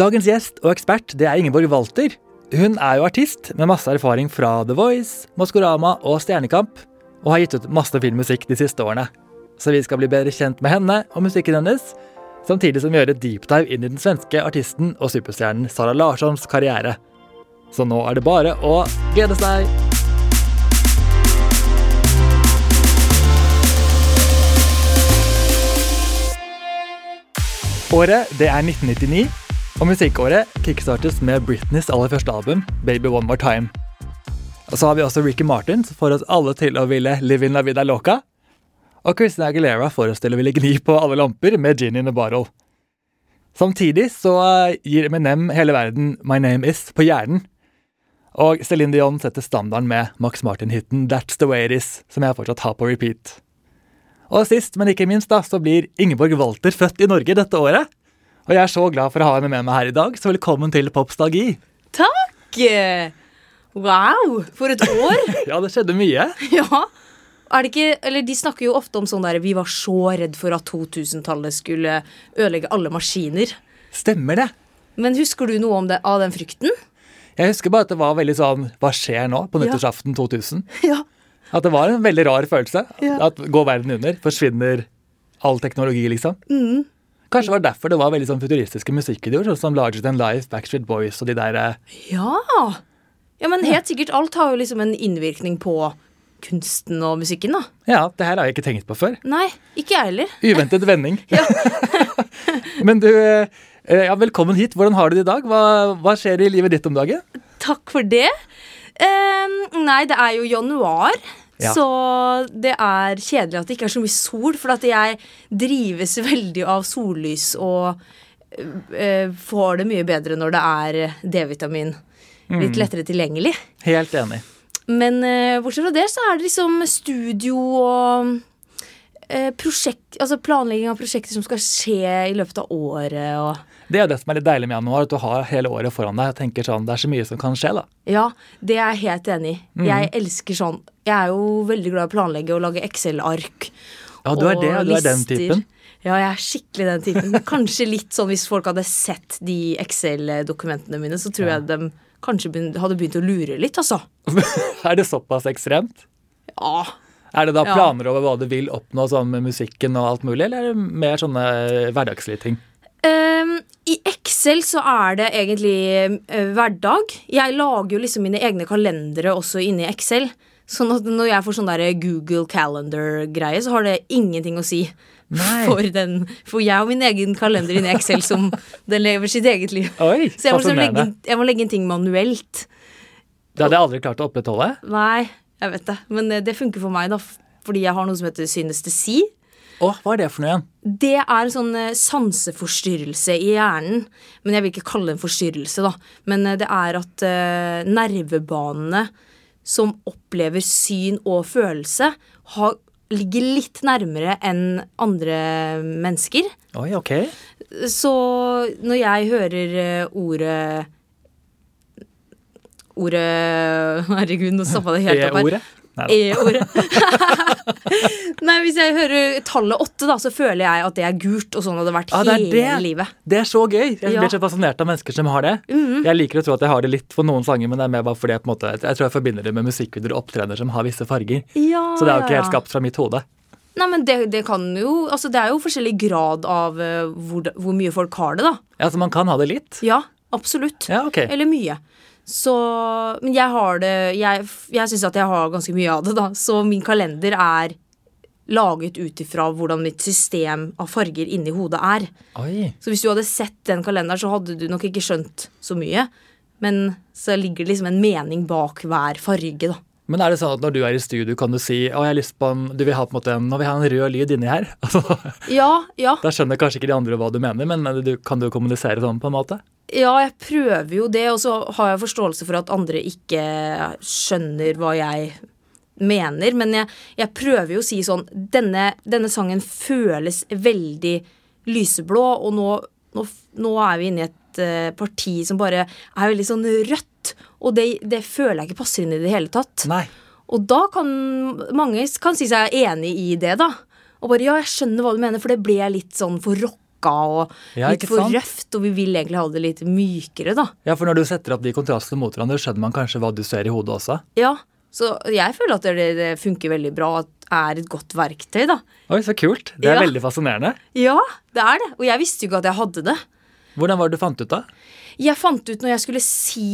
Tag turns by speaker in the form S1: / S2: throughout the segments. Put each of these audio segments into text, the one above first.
S1: Dagens gjest og ekspert det er Ingeborg Walter. Hun er jo artist med masse erfaring fra The Voice, Maskorama og Stjernekamp, og har gitt ut masse fin musikk de siste årene. Så vi skal bli bedre kjent med henne og musikken hennes, samtidig som vi gjør et deep dive inn i den svenske artisten og superstjernen Sara Larssons karriere. Så nå er det bare å glede seg! Året det er 1999, og musikkåret kickstartes med Britneys aller første album, Baby One More Time. Og så har vi også Ricky Martin som får oss alle til å ville live in la vida loca. Og Christina Aguilera får oss til å ville gni på alle lamper med gin in a bottle. Samtidig så eh, gir Eminem hele verden My Name Is på hjernen. Og Céline Dion setter standarden med Max Martin-hiten That's The Way It Is, som jeg fortsatt har på repeat. Og sist, men ikke minst, da, så blir Ingeborg Walter født i Norge dette året. Og jeg er så glad for å ha henne med meg her i dag, så velkommen til Popstalgi.
S2: Takk! Wow, for et år!
S1: Ja, det skjedde mye.
S2: ja. Er det ikke, eller De snakker jo ofte om sånn der Vi var så redd for at 2000-tallet skulle ødelegge alle maskiner.
S1: Stemmer det.
S2: Men husker du noe om det, av den frykten?
S1: Jeg husker bare at det var veldig sånn Hva skjer nå på
S2: Ja.
S1: nyttårsaften 2000?
S2: Ja.
S1: At det var en veldig rar følelse.
S2: Ja.
S1: At går verden under? Forsvinner all teknologi, liksom?
S2: Mm.
S1: Kanskje det var derfor det var veldig sånn futuristiske musikkvideoer, sånn som Larger Than Life, Backstreet Boys og de der eh,
S2: Ja, ja men helt sikkert alt har jo liksom en innvirkning på kunsten og musikken, da.
S1: Ja, det her har jeg ikke tenkt på før.
S2: Nei, ikke jeg heller.
S1: Uventet vending.
S2: Ja.
S1: Men du, eh, ja, velkommen hit. Hvordan har du det i dag? Hva, hva skjer i livet ditt om dagen?
S2: Takk for det. Eh, nei, det er jo januar.
S1: Ja.
S2: Så det er kjedelig at det ikke er så mye sol, for at jeg drives veldig av sollys og eh, får det mye bedre når det er D-vitamin litt lettere tilgjengelig.
S1: Helt enig.
S2: Men eh, bortsett fra det så er det liksom studio og eh, prosjekt, altså planlegging av prosjekter som skal skje i løpet av året og
S1: Det er jo det som er litt deilig med januar, at du har hele året foran deg. Jeg tenker sånn, Det er så mye som kan skje, da.
S2: Ja, det er jeg helt enig i.
S1: Mm.
S2: Jeg elsker sånn. Jeg er jo veldig glad i å planlegge og lage Excel-ark.
S1: Ja, du er det,
S2: og
S1: du er den
S2: lister.
S1: typen.
S2: Ja, jeg er skikkelig den typen. Kanskje litt sånn hvis folk hadde sett de Excel-dokumentene mine, så tror jeg de kanskje begyn- hadde begynt å lure litt, altså.
S1: er det såpass ekstremt?
S2: Ja.
S1: Er det da
S2: Ja.
S1: planer over hva du vil oppnå sånn med musikken og alt mulig, eller er det mer sånne hverdagslige ting?
S2: Ehm, I Excel så er det egentlig eh, hverdag. Jeg lager jo liksom mine egne kalendere også inni Excel. Sånn at når jeg får sånn der Google Calendar-greie, så har det ingenting å si.
S1: Nei.
S2: For, den, for jeg har min egen kalender inni Excel som den lever sitt eget liv.
S1: Oi,
S2: Så jeg må, liksom legge,
S1: fascinerende.
S2: inn- jeg må legge inn ting manuelt.
S1: Det hadde jeg aldri klart å opprettholde.
S2: Nei, jeg vet det. Men eh, det funker for meg, da. f- Fordi jeg har noe som heter synestesi.
S1: Å, hva er det for noe igjen?
S2: Det er en sånn eh, sanseforstyrrelse i hjernen. Men jeg vil ikke kalle det en forstyrrelse, da. Men eh, det er at eh, nervebanene som opplever syn og følelse, har, ligger litt nærmere enn andre mennesker.
S1: Oi, ok.
S2: Så når jeg hører eh, ordet Ordet Herregud, nå stoppa det helt opp her.
S1: E-ordet? Nei da.
S2: E-ordet. Nei, hvis jeg hører tallet åtte, da, så føler jeg at det er gult, og sånn hadde det vært
S1: Ah, det er
S2: hele
S1: det.
S2: livet.
S1: Det er så gøy! Jeg
S2: Ja. Mhm.
S1: blir så fascinert av mennesker som har det. Jeg liker å tro at jeg har det litt for noen sanger, men det er mer bare fordi jeg, på en måte, jeg tror jeg forbinder det med musikkvideoer og opptredener som har visse farger.
S2: Ja,
S1: Så det er jo
S2: ja,
S1: ikke helt
S2: ja.
S1: skapt fra mitt hode.
S2: Nei, men det, det kan jo Altså, det er jo forskjellig grad av eh, hvor, hvor mye folk har det, da.
S1: Ja, Så man kan ha det litt.
S2: Ja, absolutt.
S1: Ja, ok.
S2: Eller mye. Så Men jeg har det Jeg, jeg syns at jeg har ganske mye av det, da. Så min kalender er laget ut ifra hvordan mitt system av farger inni hodet er.
S1: Oi.
S2: Så hvis du hadde sett den kalenderen, så hadde du nok ikke skjønt så mye. Men så ligger det liksom en mening bak hver farge, da.
S1: Men er det sånn at når du er i studio, kan du si å, jeg har lyst på en, du vil ha på en måte en, nå vil jeg ha en rød lyd inni her? Altså,
S2: Ja, ja.
S1: da skjønner kanskje ikke de andre hva du mener, men du, kan du kommunisere sånn på en måte?
S2: Ja, jeg prøver jo det, og så har jeg forståelse for at andre ikke skjønner hva jeg mener. Men jeg, jeg prøver jo å si sånn Denne, denne sangen føles veldig lyseblå, og nå, nå, f- nå er vi inne i et eh, parti som bare er veldig sånn rødt. Og det, det føler jeg ikke passer inn i det hele tatt.
S1: Nei.
S2: Og da kan mange kan si seg enig i det, da. Og bare ja, jeg skjønner hva du mener, for det ble jeg litt sånn for rocka rocka og
S1: Ja,
S2: litt
S1: ikke
S2: for
S1: sant?
S2: røft, og vi vil egentlig ha det litt mykere, da.
S1: Ja, for når du setter opp de kontrastene mot hverandre, skjønner man kanskje hva du ser i hodet også.
S2: Ja, så jeg føler at det, det funker veldig bra, at det er et godt verktøy, da.
S1: Oi, så kult. Det er
S2: Ja.
S1: veldig fascinerende.
S2: Ja, det er det. Og jeg visste jo ikke at jeg hadde det.
S1: Hvordan var det du fant ut av?
S2: Jeg fant ut når jeg skulle si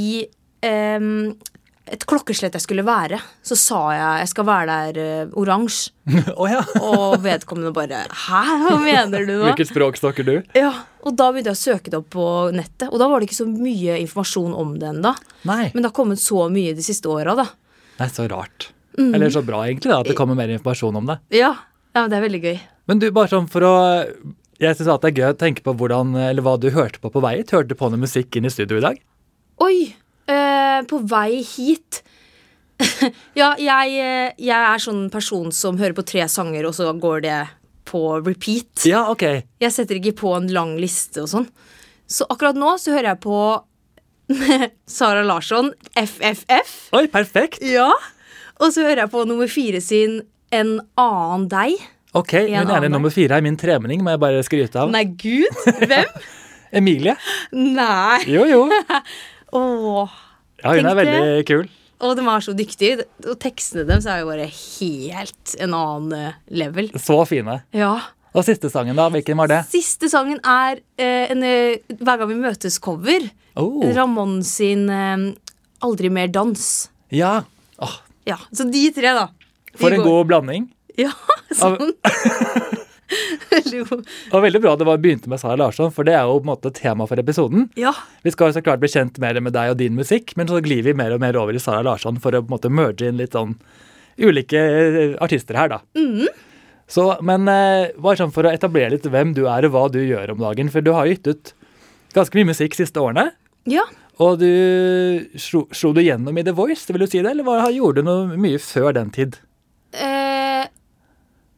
S2: ehm, et klokkeslett jeg skulle være, så sa jeg jeg skal være der eh, oransje.
S1: Å ja.
S2: Og vedkommende bare Hæ, hva mener du nå?
S1: Hvilket språk snakker du?
S2: Ja, Og da begynte jeg å søke det opp på nettet, og da var det ikke så mye informasjon om det ennå.
S1: Nei.
S2: Men det har kommet så mye de siste åra, da.
S1: Nei, så rart.
S2: Mm.
S1: Eller så bra, egentlig, da, at det kommer mer informasjon om det.
S2: Ja, ja, men det er veldig gøy.
S1: Men du, bare sånn for å Jeg syns det er gøy å tenke på hvordan, eller hva du hørte på på vei hit. Hørte du på noe musikk inn i studio i dag?
S2: Oi! Eh, på vei hit Ja, jeg, eh, jeg er sånn person som hører på tre sanger, og så går det på repeat.
S1: Ja, ok.
S2: Jeg setter ikke på en lang liste og sånn. Så akkurat nå så hører jeg på Sara Larsson, FFF.
S1: Oi, perfekt.
S2: Ja. Og så hører jeg på nummer fire sin En annen deg.
S1: Ok,
S2: En
S1: Hun er
S2: annen.
S1: nummer fire her. Min tremenning må jeg bare skryte av.
S2: Nei, gud! Hvem?
S1: Emilie.
S2: Nei.
S1: Jo, jo.
S2: Åh.
S1: Ja, hun
S2: Tenk
S1: er veldig kul.
S2: Og de er så dyktige. Og tekstene deres er jo bare helt en annen eh, level.
S1: Så fine.
S2: Ja.
S1: Og siste sangen, da? Hvilken var det?
S2: Siste sangen er eh, en eh, Hver gang vi møtes-cover.
S1: Oh,
S2: Ramón sin eh, Aldri mer dans.
S1: ja. Åh,
S2: Ja, Så de tre, da. De
S1: for en
S2: går-
S1: god blanding.
S2: Ja, sånn. Veldig god.
S1: Og veldig bra det var begynte med Sara Larsson, for det er jo på en måte tema for episoden.
S2: Ja.
S1: Vi skal jo så klart bli kjent mer med deg og din musikk, men så glir vi mer og mer over i Sara Larsson for å på en måte merge inn litt sånn ulike eh, artister her, da. Så, men eh, bare sånn for å etablere litt hvem du er og hva du gjør om dagen, for du har jo gitt ut ganske mye musikk siste årene.
S2: ja.
S1: Og du slo, slo du gjennom i The Voice, vil du si det, eller hva, gjorde du noe mye før den tid?
S2: Eh,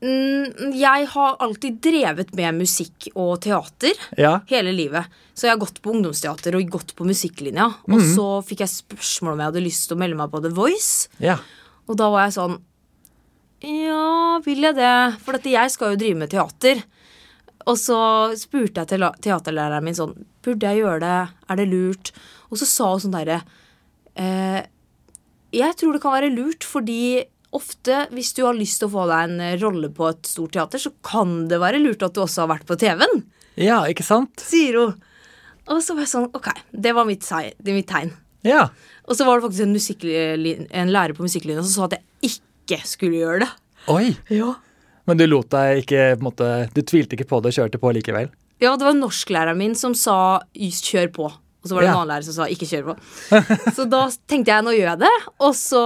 S2: mm, jeg har alltid drevet med musikk og teater.
S1: Ja,
S2: Hele livet. Så jeg har gått på ungdomsteater og gått på musikklinja. Og så fikk jeg spørsmål om jeg hadde lyst til å melde meg på The Voice.
S1: ja.
S2: Og da var jeg sånn Ja, vil jeg det? For at jeg skal jo drive med teater. Og så spurte jeg til teaterlæreren min sånn Burde jeg gjøre det? Er det lurt? Og så sa hun sånn derre eh, Jeg tror det kan være lurt, fordi ofte hvis du har lyst til å få deg en rolle på et stort teater, så kan det være lurt at du også har vært på TV-en,
S1: Ja, ikke sant?
S2: sier hun. Og så var jeg sånn Ok, det var mitt, sei- det er mitt tegn.
S1: Ja.
S2: Og så var det faktisk en, musikkli- en lærer på musikklinja som sa at jeg ikke skulle gjøre det.
S1: Oi.
S2: Ja.
S1: Men du lot deg ikke, på en måte, du tvilte ikke på det og kjørte på likevel?
S2: ja, det var norsklæreren min som sa "Just 'kjør på'. Og så var det en
S1: Ja.
S2: annen lærer som sa 'ikke kjør på'. Så da tenkte jeg nå gjør jeg det. Og så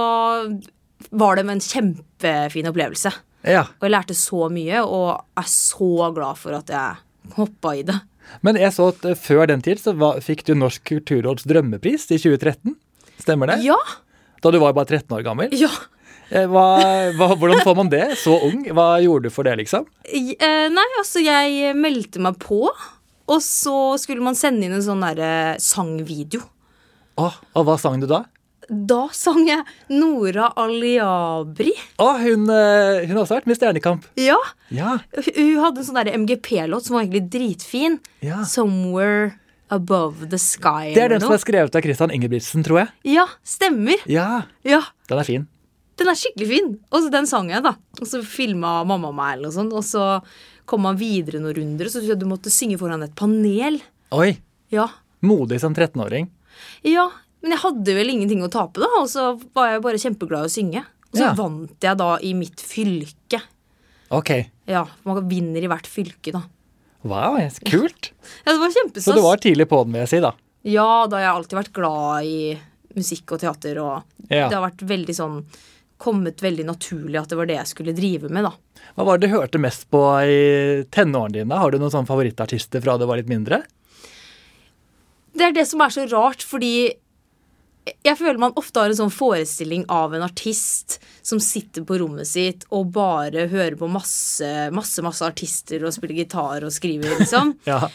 S2: var det en kjempefin opplevelse.
S1: Ja.
S2: Og jeg lærte så mye, og er så glad for at jeg hoppa i det.
S1: Men jeg så at eh, før den tid så var, fikk du Norsk kulturråds drømmepris i 2013. Stemmer det?
S2: Ja,
S1: Da du var bare 13 år gammel.
S2: ja.
S1: Eh, Hva, hva, hvordan får man det? Så ung? Hva gjorde du for det, liksom?
S2: I- eh, Nei, altså jeg meldte meg på, og så skulle man sende inn en sånn derre sangvideo.
S1: Åh, og hva sang du da?
S2: Da sang jeg Nora Aliabri.
S1: Å, hun, eh, hun har også vært med i Stjernekamp.
S2: Ja.
S1: Ja.
S2: Hun hadde en sånn der MGP-låt som var egentlig dritfin.
S1: Ja.
S2: 'Somewhere Above The Sky'.
S1: Det er
S2: eller
S1: den som
S2: noe.
S1: er skrevet av Christian Ingebrigtsen, tror jeg.
S2: Ja, stemmer.
S1: Ja,
S2: Ja,
S1: Den er fin.
S2: Den er skikkelig fin. Og så den sang jeg, da. Og så filma mamma meg, eller noe sånt. Og så kom man videre noen runder, og så tror jeg du måtte synge foran et panel.
S1: Oi.
S2: Ja.
S1: Modig som 13-åring.
S2: ja. Men jeg hadde vel ingenting å tape, da, og så var jeg bare kjempeglad i å synge. Og så
S1: Ja.
S2: vant jeg da i mitt fylke.
S1: Ok.
S2: Ja, man vinner i hvert fylke, da.
S1: Wow, kult.
S2: Ja, det var kjempestas.
S1: Så du var tidlig på den, vil jeg si, da.
S2: Ja, da har jeg alltid vært glad i musikk og teater, og
S1: Ja.
S2: det har vært veldig sånn Kommet veldig naturlig at det var det jeg skulle drive med, da.
S1: Hva var det du hørte mest på i tenårene dine? Har du noen sånne favorittartister fra det var litt mindre?
S2: Det er det som er så rart, fordi jeg føler man ofte har en sånn forestilling av en artist som sitter på rommet sitt og bare hører på masse, masse, masse artister og spiller gitar og skriver, liksom.
S1: Ja.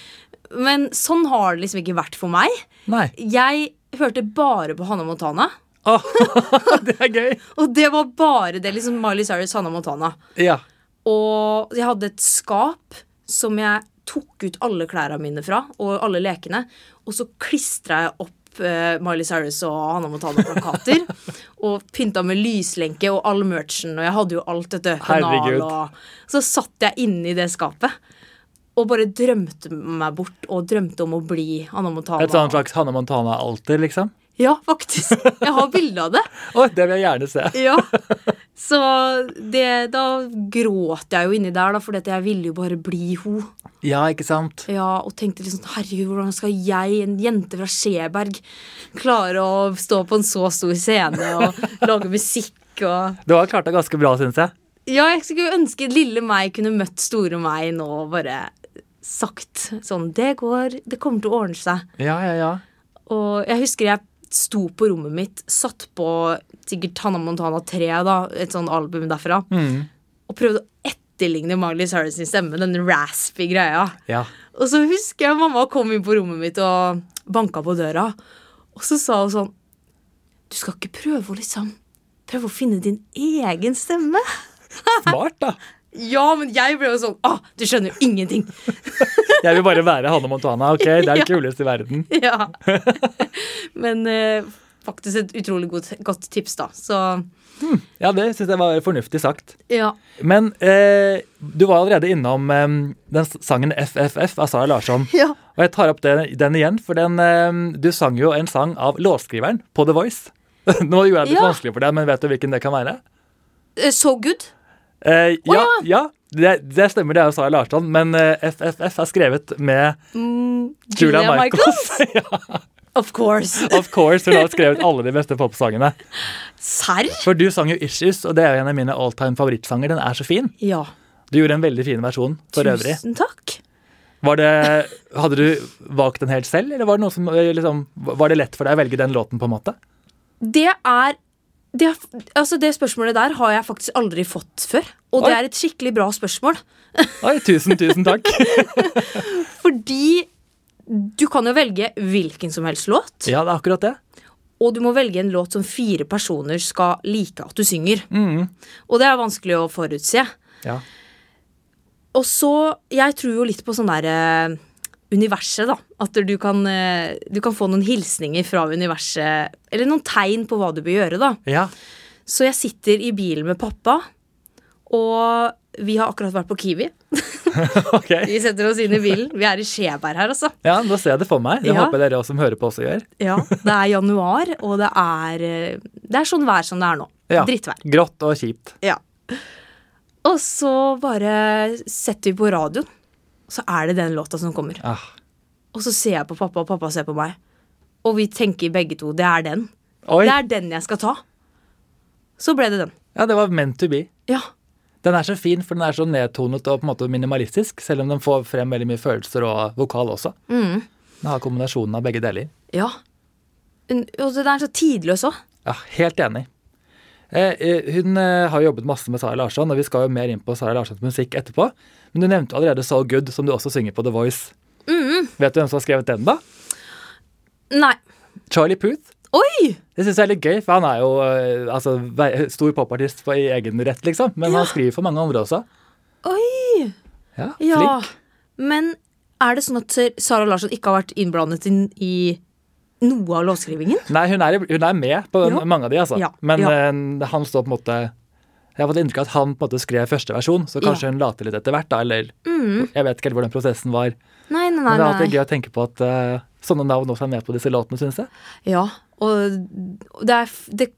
S2: Men sånn har det liksom ikke vært for meg.
S1: Nei.
S2: Jeg hørte bare på Hannah Montana.
S1: Åh, det er gøy!
S2: Og det var bare det. liksom Miley Cyrus, Hannah Montana.
S1: Ja.
S2: Og jeg hadde et skap som jeg tok ut alle klærne mine fra, og alle lekene, og så klistra jeg opp eh, Miley Cyrus og Hanna Montana-plakater. og pynta med lyslenke og all merchen, og jeg hadde jo alt dette.
S1: Herregud.
S2: pennal Og, så satt jeg inne i det skapet. Og bare drømte meg bort, og drømte om å bli Hanna Montana.
S1: Et sånn slags Hanne Montana-alter, liksom?
S2: Ja, faktisk. Jeg har bilde av det.
S1: Å, det vil jeg gjerne se.
S2: Ja. Så det, da gråt jeg jo inni der, da, for jeg ville jo bare bli ho.
S1: Ja, ikke sant?
S2: Ja, og tenkte liksom herregud, hvordan skal jeg, en jente fra Skjeberg, klare å stå på en så stor scene og lage musikk og
S1: Du har klart deg ganske bra, syns jeg.
S2: Ja, jeg skulle ønske lille meg kunne møtt store meg nå og bare sagt sånn Det går, det kommer til å ordne seg.
S1: Ja, ja, ja.
S2: Og jeg husker jeg sto på rommet mitt, satt på sikkert Hanna Montana 3, da, et sånn album derfra,
S1: Mm.
S2: og prøvde å etterligne Miley Cyrus sin stemme, den raspy greia.
S1: Ja.
S2: Og så husker jeg mamma kom inn på rommet mitt og banka på døra, og så sa hun sånn Du skal ikke prøve å liksom Prøve å finne din egen stemme?
S1: Smart, da.
S2: Ja, men jeg ble jo sånn Å, du skjønner jo ingenting!
S1: Jeg vil bare være Hanne Montana, OK? Det er det kuleste i verden.
S2: Ja. Men eh, faktisk et utrolig godt, godt tips, da. Så
S1: Ja, det syns jeg var fornuftig sagt.
S2: ja.
S1: Men eh, du var allerede innom eh, den s- sangen FFF av Sara Larsson.
S2: ja.
S1: Og jeg tar opp den, den igjen, for den, eh, du sang jo en sang av låtskriveren på The Voice. Nå gjorde jeg det litt
S2: Ja.
S1: vanskelig for deg, men vet du hvilken det kan være?
S2: Eh, So good?
S1: Eh, ja, ja. Det, det stemmer, det er jo Sara Larsson, men eh, FFF er skrevet med Julia Michaels.
S2: Mm, Of course.
S1: Of course, hun har skrevet alle de beste popsangene.
S2: Serr?
S1: For du sang jo Issues, og det er jo en av mine alltime favorittsanger. Den er så fin.
S2: Ja.
S1: Du gjorde en veldig fin versjon for øvrig.
S2: Tusen takk.
S1: Var det, hadde du valgt den helt selv, eller var det, noe som, eh, liksom, var det lett for deg å velge den låten? på en måte?
S2: Det er det, er- altså det spørsmålet der har jeg faktisk aldri fått før. Og det
S1: Oi.
S2: er et skikkelig bra spørsmål.
S1: Oi, tusen, tusen takk.
S2: Fordi du kan jo velge hvilken som helst låt.
S1: Ja, det er akkurat det.
S2: Og du må velge en låt som fire personer skal like at du synger.
S1: Mm.
S2: Og det er vanskelig å forutse.
S1: Ja.
S2: Og så, jeg tror jo litt på sånn der eh, universet, da. At du kan, eh, du kan få noen hilsninger fra universet, eller noen tegn på hva du bør gjøre, da.
S1: ja.
S2: Så jeg sitter i bilen med pappa, og vi har akkurat vært på Kiwi.
S1: Ok.
S2: Vi setter oss inn i bilen. Vi er i Skjeberg her, altså.
S1: Ja, Nå ser jeg det for meg. Det
S2: Ja.
S1: håper jeg dere også som hører på, også gjør.
S2: Ja, Det er januar, og det er, eh, det er sånn vær som det er nå.
S1: Ja.
S2: Drittvær.
S1: Grått og kjipt.
S2: Ja. Og så bare setter vi på radioen, og så er det den låta som kommer.
S1: Ah.
S2: Og så ser jeg på pappa, og pappa ser på meg. Og vi tenker begge to det er den.
S1: Oi.
S2: Det er den jeg skal ta. Så ble det den.
S1: Ja, det var meant to be.
S2: Ja.
S1: Den er så fin, for den er så nedtonet og på en måte minimalistisk, selv om den får frem veldig mye følelser og vokal også. Den har kombinasjonen av begge deler.
S2: Mm. ja. Un- Og den er så tidløs òg.
S1: Ja, helt enig. Eh, eh, Hun eh, har jobbet masse med Sara Larsson, og vi skal jo mer inn på Sara Larssons musikk etterpå. Men du nevnte allerede So Good, som du også synger på The Voice. Vet du hvem som har skrevet den, da?
S2: Nei.
S1: Charlie Puth.
S2: Oi!
S1: Det syns jeg er litt gøy, for han er jo eh, altså, ve- stor popartist på- i egen rett, liksom. Men han skriver for mange andre også.
S2: Oi!
S1: Ja,
S2: Ja.
S1: flink.
S2: Men er det sånn at Sara Larsson ikke har vært innblandet inn i noe av låtskrivingen?
S1: Nei, hun er, hun er med på
S2: Ja.
S1: mange av de, altså.
S2: Ja,
S1: Men
S2: ja.
S1: eh, han står på en måte Jeg har fått inntrykk av at han på en måte skrev første versjon, så kanskje hun la til litt etter hvert, da, eller Jeg vet ikke helt hvordan prosessen var.
S2: Nei, nei, Mm.
S1: Men
S2: nei.
S1: det er alltid
S2: nei.
S1: gøy å tenke på at eh, sånne navn også er med på disse låtene, syns jeg.
S2: Ja, og det er f- det,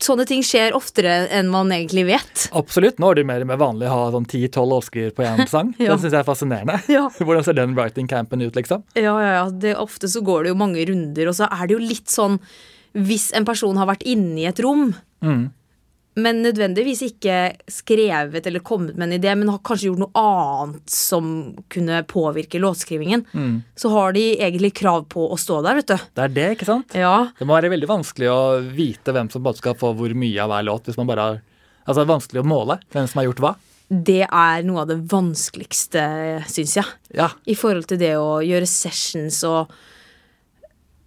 S2: Sånne ting skjer oftere enn man egentlig vet.
S1: Absolutt. Nå er det mer med vanlig å ha sånn 10-12 låtskriver på én sang.
S2: Ja.
S1: Det syns jeg er fascinerende.
S2: Ja.
S1: Hvordan ser den writing-campen ut, liksom?
S2: Ja, ja, ja. Det, ofte så går det jo mange runder, og så er det jo litt sånn Hvis en person har vært inne i et rom, men nødvendigvis ikke skrevet eller kommet med en idé, men har kanskje gjort noe annet som kunne påvirke låtskrivingen, så har de egentlig krav på å stå der, vet du.
S1: Det er det, ikke sant?
S2: Ja.
S1: Det må være veldig vanskelig å vite hvem som på en måte skal få hvor mye av hver låt, hvis man bare har Altså, det er vanskelig å måle hvem som har gjort hva.
S2: Det er noe av det vanskeligste, syns jeg.
S1: Ja.
S2: I forhold til det å gjøre sessions og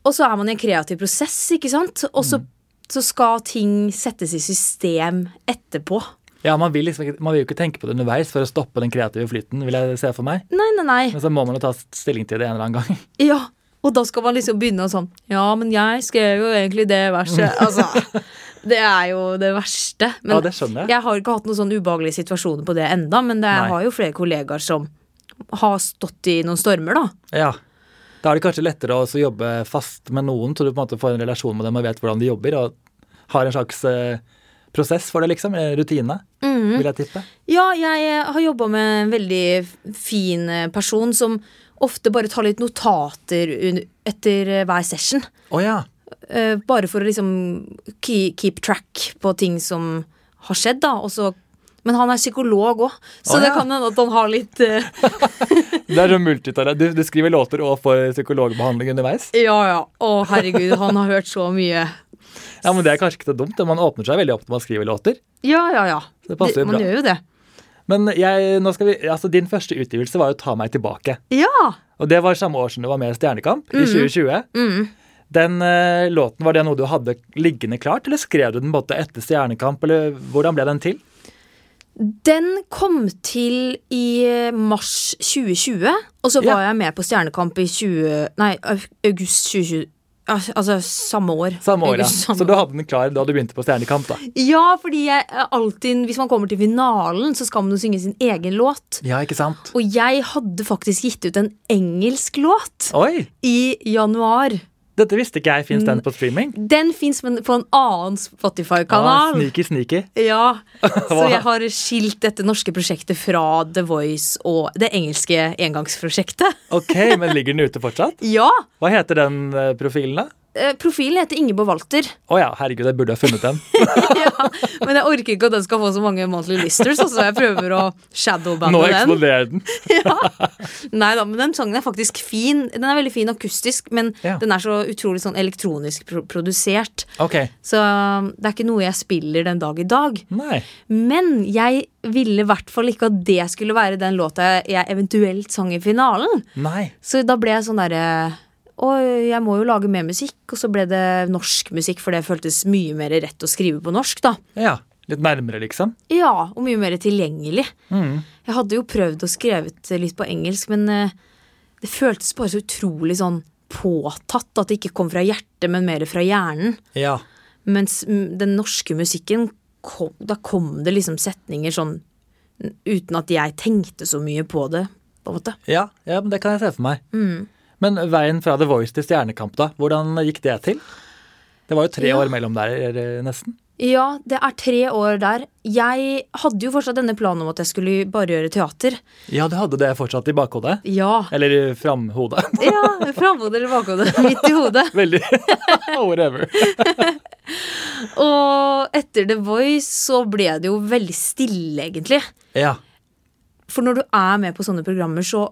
S2: Og så er man i en kreativ
S1: Mm.
S2: prosess, ikke sant? Og så, så skal ting settes i system etterpå.
S1: Ja, man vil, liksom, ikke- man vil jo ikke tenke på det underveis for å stoppe den kreative flyten, vil jeg se for meg.
S2: Nei, nei, nei.
S1: Men så må man jo ta stilling til det en eller annen gang.
S2: Ja. Og da skal man liksom begynne å sånn Ja, men jeg skrev jo egentlig det verset. Altså, det er jo det verste. Men
S1: Ja, det skjønner jeg.
S2: jeg har ikke hatt noen sånn ubehagelige situasjoner på det enda, men det,
S1: Nei.
S2: jeg har jo flere kollegaer som har stått i noen stormer, da.
S1: Ja. Da er det kanskje lettere å også jobbe fast med noen, så du på en måte får en relasjon med dem og vet hvordan de jobber, og har en slags eh, prosess for det, liksom. eh, Rutine, vil jeg tippe.
S2: Ja, jeg eh, har jobba med en veldig f- fin eh, person som ofte bare tar litt notater un- etter eh, hver session.
S1: Å ja.
S2: Eh, bare for å liksom keep, keep track på ting som har skjedd, da. Og så, men han er psykolog òg, så
S1: Å,
S2: det
S1: ja.
S2: kan hende at han har litt eh,
S1: Det er sånn multitalent. Du, du skriver låter og får psykologbehandling underveis.
S2: Ja, ja. Å, herregud, han har hørt så mye.
S1: Ja, men Det er kanskje ikke så dumt. da. Man åpner seg veldig opp når man skriver låter.
S2: Ja, ja, ja.
S1: Det passer jo
S2: man
S1: bra.
S2: gjør jo det.
S1: Men jeg, nå skal vi, altså din første utgivelse var jo Ta meg tilbake.
S2: Ja.
S1: Og det var samme år som du var med i Stjernekamp, i 2020.
S2: Mm.
S1: Den eh, låten, Var det noe du hadde liggende klart, eller skrev du den både etter Stjernekamp, eller hvordan ble den til?
S2: Den kom til i eh, mars 2020, og så
S1: Ja.
S2: var jeg med på Stjernekamp i 20... Nei, au- august 2020. Al- Altså samme år.
S1: Samme år, ja.
S2: August samme
S1: Så du hadde den klar da du begynte på Stjernekamp, da?
S2: Ja, fordi jeg eh, alltid, hvis man kommer til finalen, så skal man jo synge sin egen låt.
S1: Ja, ikke sant?
S2: Og jeg hadde faktisk gitt ut en engelsk låt
S1: Oi!
S2: i januar.
S1: Dette visste ikke jeg fins den på streaming.
S2: Den fins på en annen
S1: Ah,
S2: Spotify-kanal.
S1: sneaky, sneaky.
S2: Ja, Så jeg har skilt dette norske prosjektet fra The Voice og det engelske engangsprosjektet.
S1: Ok, men ligger den ute fortsatt?
S2: Ja!
S1: Hva heter den eh, profilen, da?
S2: eh, Profilen heter Ingeborg Walter,
S1: Å ja, herregud, jeg burde ha funnet den.
S2: men jeg orker ikke at den skal få så mange monthly listers, så jeg prøver å
S1: Nå
S2: shadowbanne den.
S1: eksploderer den.
S2: Nei da, men den sangen er faktisk fin. Den er veldig fin akustisk, men
S1: Ja.
S2: den er så utrolig sånn elektronisk pro produsert.
S1: Ok,
S2: Så um, det er ikke noe jeg spiller den dag i dag.
S1: nei.
S2: Men jeg ville i hvert fall ikke at det skulle være den låta jeg eventuelt sang i finalen.
S1: Nei.
S2: Så da ble jeg sånn derre Å, jeg må jo lage mer musikk. Og så ble det norsk musikk, for det føltes mye mer rett å skrive på norsk, da.
S1: Ja, litt nærmere, liksom.
S2: Ja, og mye mer tilgjengelig.
S1: Mm.
S2: Jeg hadde jo prøvd å skrevet litt på engelsk, men eh, det føltes bare så utrolig sånn påtatt at det ikke kom fra hjertet, men mer fra hjernen.
S1: Ja.
S2: Mens mm, den norske musikken, kom, da kom det liksom setninger sånn n- uten at jeg tenkte så mye på det, på en måte.
S1: ja. Ja, men det kan jeg se for meg.
S2: Mm.
S1: Men veien fra The Voice til Stjernekamp, da? Hvordan gikk det til? Det var jo tre
S2: Ja.
S1: år mellom der, eh, nesten.
S2: Ja, det er tre år der. Jeg hadde jo fortsatt denne planen om at jeg skulle bare gjøre teater.
S1: Ja, du hadde det fortsatt i bakhodet?
S2: Ja.
S1: Eller i framhodet?
S2: ja Framhodet eller bakhodet. Midt i hodet.
S1: Veldig Whatever.
S2: Og etter The Voice så ble det jo veldig stille, egentlig.
S1: Ja.
S2: For når du er med på sånne programmer, så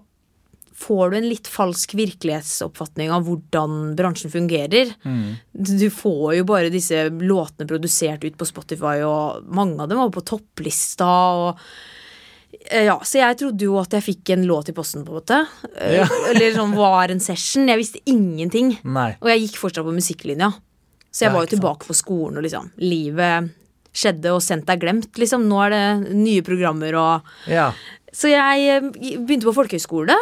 S2: får du en litt falsk virkelighetsoppfatning av hvordan bransjen fungerer.
S1: Mm.
S2: Du får jo bare disse låtene produsert ut på Spotify, og mange av dem var på topplista. og Eh, ja, Så jeg trodde jo at jeg fikk en låt i posten, på en måte. Eh,
S1: Ja.
S2: Eller sånn var en session. Jeg visste ingenting.
S1: Nei.
S2: Og jeg gikk fortsatt på musikklinja. Så jeg
S1: Ja,
S2: var jo
S1: ikke sant.
S2: tilbake på skolen, og liksom Livet skjedde, og sendt er glemt, liksom. Nå er det nye programmer og
S1: Ja.
S2: Så jeg eh, begynte på folkehøyskole.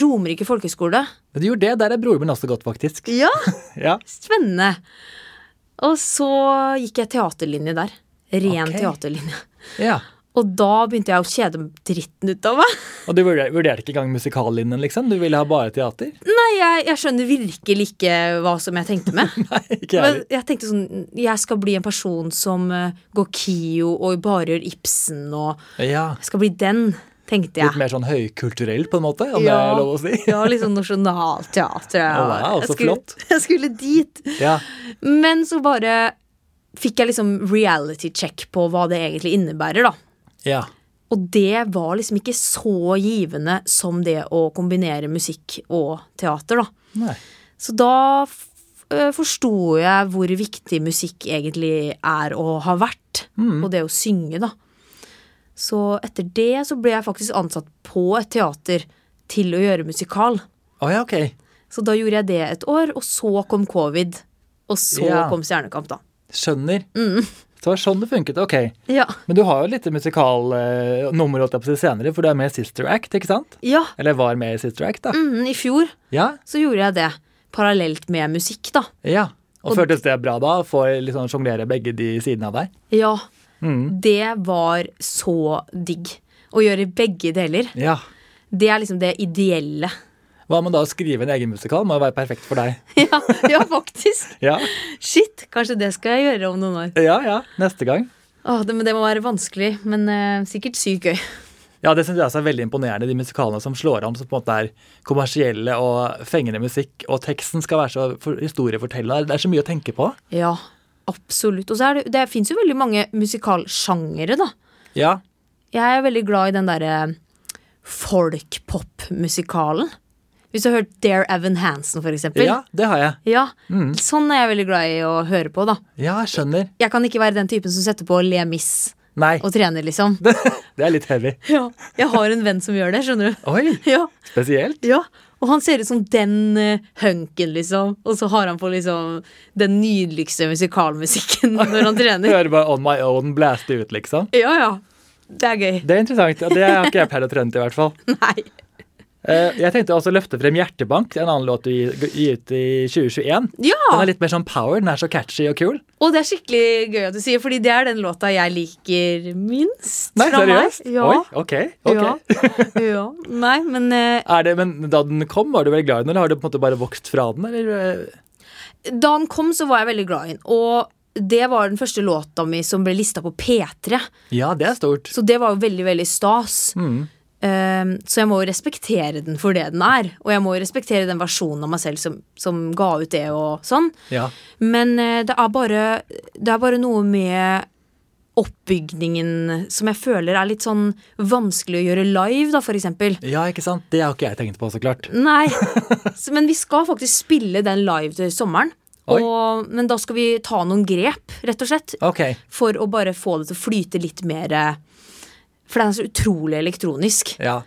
S2: Romerike folkehøyskole.
S1: Men du gjorde det. Der er broren min også gått, faktisk.
S2: Ja,
S1: Ja.
S2: spennende. Og så gikk jeg teaterlinje der. Ren
S1: Ok.
S2: teaterlinje.
S1: ja.
S2: Og da begynte jeg å kjede dritten ut av meg.
S1: Og du vurder- vurderte ikke engang musikallinjen, liksom? Du ville ha bare teater?
S2: Nei, jeg, jeg skjønner virkelig ikke hva som jeg tenkte med.
S1: Nei, ikke jeg
S2: Men
S1: heller.
S2: jeg tenkte sånn, jeg skal bli en person som eh, går KIO og bare gjør Ibsen og
S1: Ja.
S2: Jeg skal bli den, tenkte
S1: Litt
S2: jeg.
S1: mer sånn høykulturell, på en måte, om det
S2: Ja.
S1: er lov å si.
S2: Ja, litt sånn nasjonalteater.
S1: Å, wow,
S2: jeg,
S1: så
S2: skulle,
S1: flott.
S2: jeg skulle dit.
S1: Ja.
S2: Men så bare fikk jeg liksom reality check på hva det egentlig innebærer, da.
S1: Ja.
S2: Og det var liksom ikke så givende som det å kombinere musikk og teater, da.
S1: Nei.
S2: Så da f- eh, forsto jeg hvor viktig musikk egentlig er og har vært. Og det å synge, da. Så etter det så ble jeg faktisk ansatt på et teater til å gjøre musikal.
S1: Å ja, ok.
S2: Så da gjorde jeg det et år, og så kom covid. Og så
S1: Ja.
S2: kom Stjernekamp, da.
S1: Skjønner. Så det var sånn det funket. Ok.
S2: Ja.
S1: Men du har jo litt musikalnummer holdt jeg på å si senere, for du er med i Sister Act, ikke sant?
S2: ja.
S1: Eller var med i Sister Act, da.
S2: Mm, I fjor
S1: Ja.
S2: så gjorde jeg det. Parallelt med musikk, da.
S1: ja. Og,
S2: Og-
S1: føltes det bra da? Få liksom sjonglere begge de sidene av deg?
S2: Ja.
S1: Mm.
S2: Det var så digg. Å gjøre begge deler.
S1: Ja.
S2: Det er liksom det ideelle.
S1: Hva med da å skrive en egen musikal? Må jo være perfekt for deg.
S2: Ja, ja faktisk.
S1: Ja,
S2: Shit, kanskje det skal jeg gjøre om noen år.
S1: ja. ja. Neste gang.
S2: Åh, det, men det må være vanskelig, men eh, sikkert sykt gøy.
S1: Ja, det syns jeg også er veldig imponerende, de musikalene som slår an, som på en måte er kommersielle og fengende musikk, og teksten skal være så for- historiefortellende. Det er så mye å tenke på.
S2: Ja, absolutt. Og så er det, det fins jo veldig mange musikalsjangere, da.
S1: Ja.
S2: Jeg er veldig glad i den derre folkpop-musikalen. Hvis du har hørt Dare Evan Hansen, for eksempel.
S1: ja, det har jeg.
S2: Ja,
S1: Mm.
S2: Sånn er jeg veldig glad i å høre på, da.
S1: Ja, jeg skjønner.
S2: Jeg kan ikke være den typen som setter på Le Mis
S1: Nei,
S2: og trener, liksom.
S1: det er litt heavy.
S2: Ja, jeg har en venn som gjør det, skjønner du.
S1: Oi,
S2: Ja,
S1: spesielt.
S2: ja. Og han ser ut som den eh, hunken, liksom. Og så har han på liksom den nydeligste musikalmusikken når han trener.
S1: Hører bare On My Own blaste ut, liksom.
S2: Ja, ja. Det er gøy.
S1: Det er interessant. og Det har ikke jeg pleid å trene til, i hvert fall.
S2: Nei.
S1: Eh, Jeg tenkte også å løfte frem Hjertebank, en annen låt du gir gir ut i 2021. Den
S2: Ja!
S1: er litt mer sånn power. Den er så catchy og kul.
S2: Og det er skikkelig gøy at du sier, fordi det er den låta jeg liker minst.
S1: Nei,
S2: fra
S1: seriøst?
S2: Meg. Ja.
S1: Oi, ok. ok.
S2: Ja. ja. Nei, men eh,
S1: Er det, men da den kom, var du veldig glad i den, eller har du på en måte bare vokst fra den? Eller? eh?
S2: da han kom, så var jeg veldig glad i den. Og det var den første låta mi som ble lista på P3.
S1: Ja, det er stort.
S2: Så det var jo veldig, veldig stas. Ehm, så jeg må jo respektere den for det den er. Og jeg må jo respektere den versjonen av meg selv som, som ga ut det og sånn.
S1: Ja.
S2: Men eh, det er bare Det er bare noe med oppbygningen som jeg føler er litt sånn vanskelig å gjøre live, da, for eksempel.
S1: ja, ikke sant? Det har ikke jeg tenkt på, så klart.
S2: Nei. Så, men vi skal faktisk spille den live til sommeren.
S1: Oi.
S2: Og, men da skal vi ta noen grep, rett og slett.
S1: Ok,
S2: For å bare få det til å flyte litt mer eh, For den er så utrolig elektronisk.
S1: ja.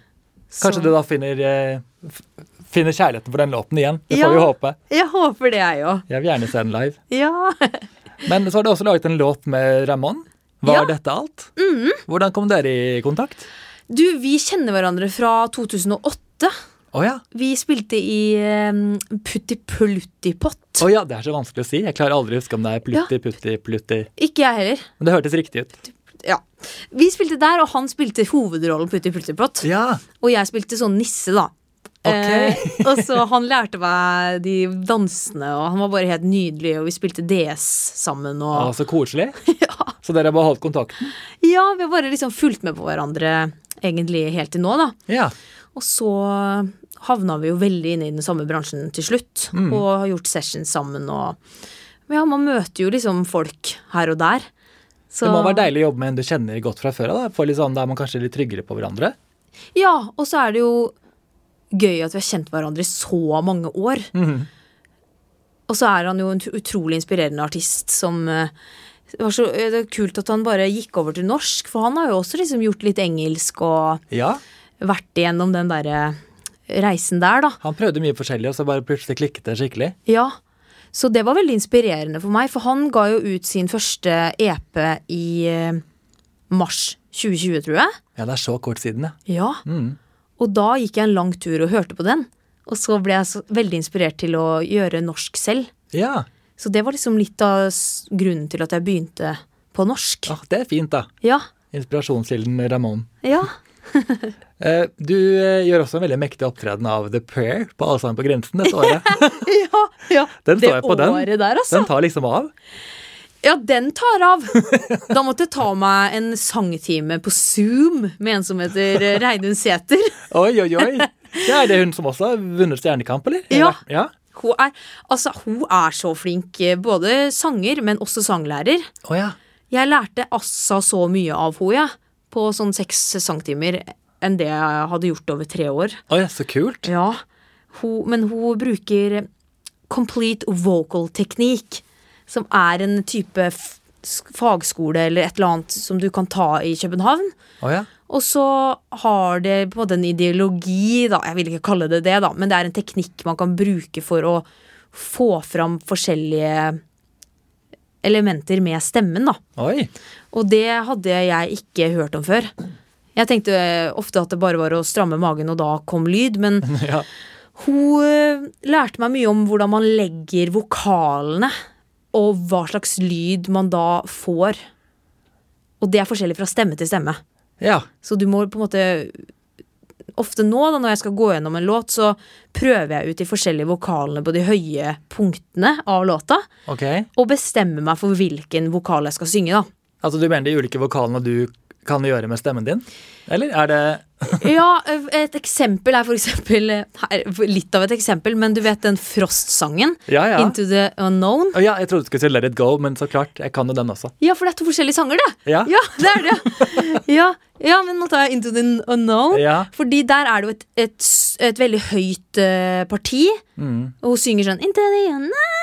S1: Kanskje
S2: Så-
S1: du da finner, eh, f- finner kjærligheten for den låten igjen. Det
S2: Ja.
S1: får vi håpe.
S2: Jeg håper det, jeg òg.
S1: Jeg vil gjerne se den live.
S2: Ja.
S1: Men så har du også laget en låt med Ramón. Var
S2: Ja. Mm-hmm.
S1: dette alt? Hvordan kom dere i kontakt?
S2: Du, vi kjenner hverandre fra 2008.
S1: Å ja.
S2: Vi spilte i um, Putti Plutti Pott.
S1: Å ja, det er så vanskelig å si. Jeg klarer aldri å huske om det er plutti, putti, plutti.
S2: Ikke jeg heller.
S1: Men det hørtes riktig ut.
S2: Ja. Vi spilte der, og han spilte hovedrollen Putti Plutti Pott.
S1: Ja,
S2: Og jeg spilte sånn nisse, da.
S1: Ok.
S2: Eh, og så Han lærte meg de dansene, og han var bare helt nydelig, og vi spilte DS sammen.
S1: Å,
S2: Og,
S1: så koselig. Så dere har bare holdt kontakten?
S2: ja, Vi har bare liksom fulgt med på hverandre egentlig helt til nå, da.
S1: Ja.
S2: Og så havna vi jo veldig inne i den samme bransjen til slutt,
S1: Mm.
S2: og har gjort sessions sammen og Men Ja, man møter jo liksom folk her og der. Så-
S1: Det må være deilig å jobbe med en du kjenner godt fra før av. da. For liksom, da er man kanskje litt tryggere på hverandre.
S2: Ja, og så er det jo gøy at vi har kjent hverandre i så mange år. Og så er han jo en ut- utrolig inspirerende artist som eh, det var så, eh, det er kult at han bare gikk over til norsk, for han har jo også liksom gjort litt engelsk og
S1: Ja.
S2: vært igjennom den derre reisen der, da.
S1: Han prøvde mye forskjellig, og så bare plutselig klikket det skikkelig.
S2: Ja, så det var veldig inspirerende for meg, for han ga jo ut sin første EP i eh, mars 2020, tror jeg.
S1: Ja, det er så kort siden, ja.
S2: Ja.
S1: Mm.
S2: Og da gikk jeg en lang tur og hørte på den. Og så ble jeg så veldig inspirert til å gjøre norsk selv.
S1: Ja,
S2: Så det var liksom litt av s- grunnen til at jeg begynte på norsk.
S1: ah, det er fint, da.
S2: Ja.
S1: Inspirasjonskilden Ramón.
S2: Ja.
S1: Eh, du eh, gjør også en veldig mektig opptreden av The Prayer på Allsang på grensen dette året.
S2: ja, ja.
S1: Den
S2: det
S1: så jeg på, den.
S2: året der, altså.
S1: Den tar liksom av.
S2: Ja, den tar av. Da måtte jeg ta meg en sangtime på Zoom med en som heter eh, Reidun Sæther.
S1: Oi, oi, oi. Ja, er det hun som også har vunnet Stjernekamp, eller?
S2: Ja.
S1: ja.
S2: Hun er, altså, hun er så flink, eh, både sanger, men også sanglærer.
S1: Å ja.
S2: Jeg lærte altså så mye av henne, jeg, på sånn seks sangtimer enn det jeg hadde gjort over tre år.
S1: Å ja, så kult.
S2: Ja, hun, Men hun bruker complete vocal teknikk, som er en type f s- fagskole eller et eller annet som du kan ta i København.
S1: Å ja.
S2: Og så har det på en måte en ideologi, da. Jeg vil ikke kalle det det, da, men det er en teknikk man kan bruke for å få fram forskjellige elementer med stemmen, da.
S1: Oi.
S2: Og det hadde jeg ikke hørt om før. Jeg tenkte eh, ofte at det bare var å stramme magen, og da kom lyd, men
S1: Ja.
S2: hun eh, lærte meg mye om hvordan man legger vokalene, og hva slags lyd man da får. Og det er forskjellig fra stemme til stemme.
S1: ja.
S2: Så du må på en måte Ofte nå, da, når jeg skal gå gjennom en låt, så prøver jeg ut de forskjellige vokalene på de høye punktene av låta,
S1: Ok.
S2: og bestemmer meg for hvilken vokal jeg skal synge, da.
S1: Altså, du mener de ulike vokalene du kan gjøre med stemmen din? Eller er det
S2: Ja, et eksempel er for eksempel eh, her, Litt av et eksempel, men du vet den Frost-sangen?
S1: Ja, ja.
S2: Into the Unknown?
S1: Å ja, jeg trodde du skulle si Let it go, men så klart. Jeg kan jo den også.
S2: Ja, for det er to forskjellige sanger, det!
S1: Ja.
S2: Ja, det er det! Ja, ja men nå tar jeg Into the Unknown.
S1: Ja.
S2: Fordi der er det jo et, et, s- et veldig høyt eh, parti,
S1: Mm.
S2: og hun synger sånn Into the Unknown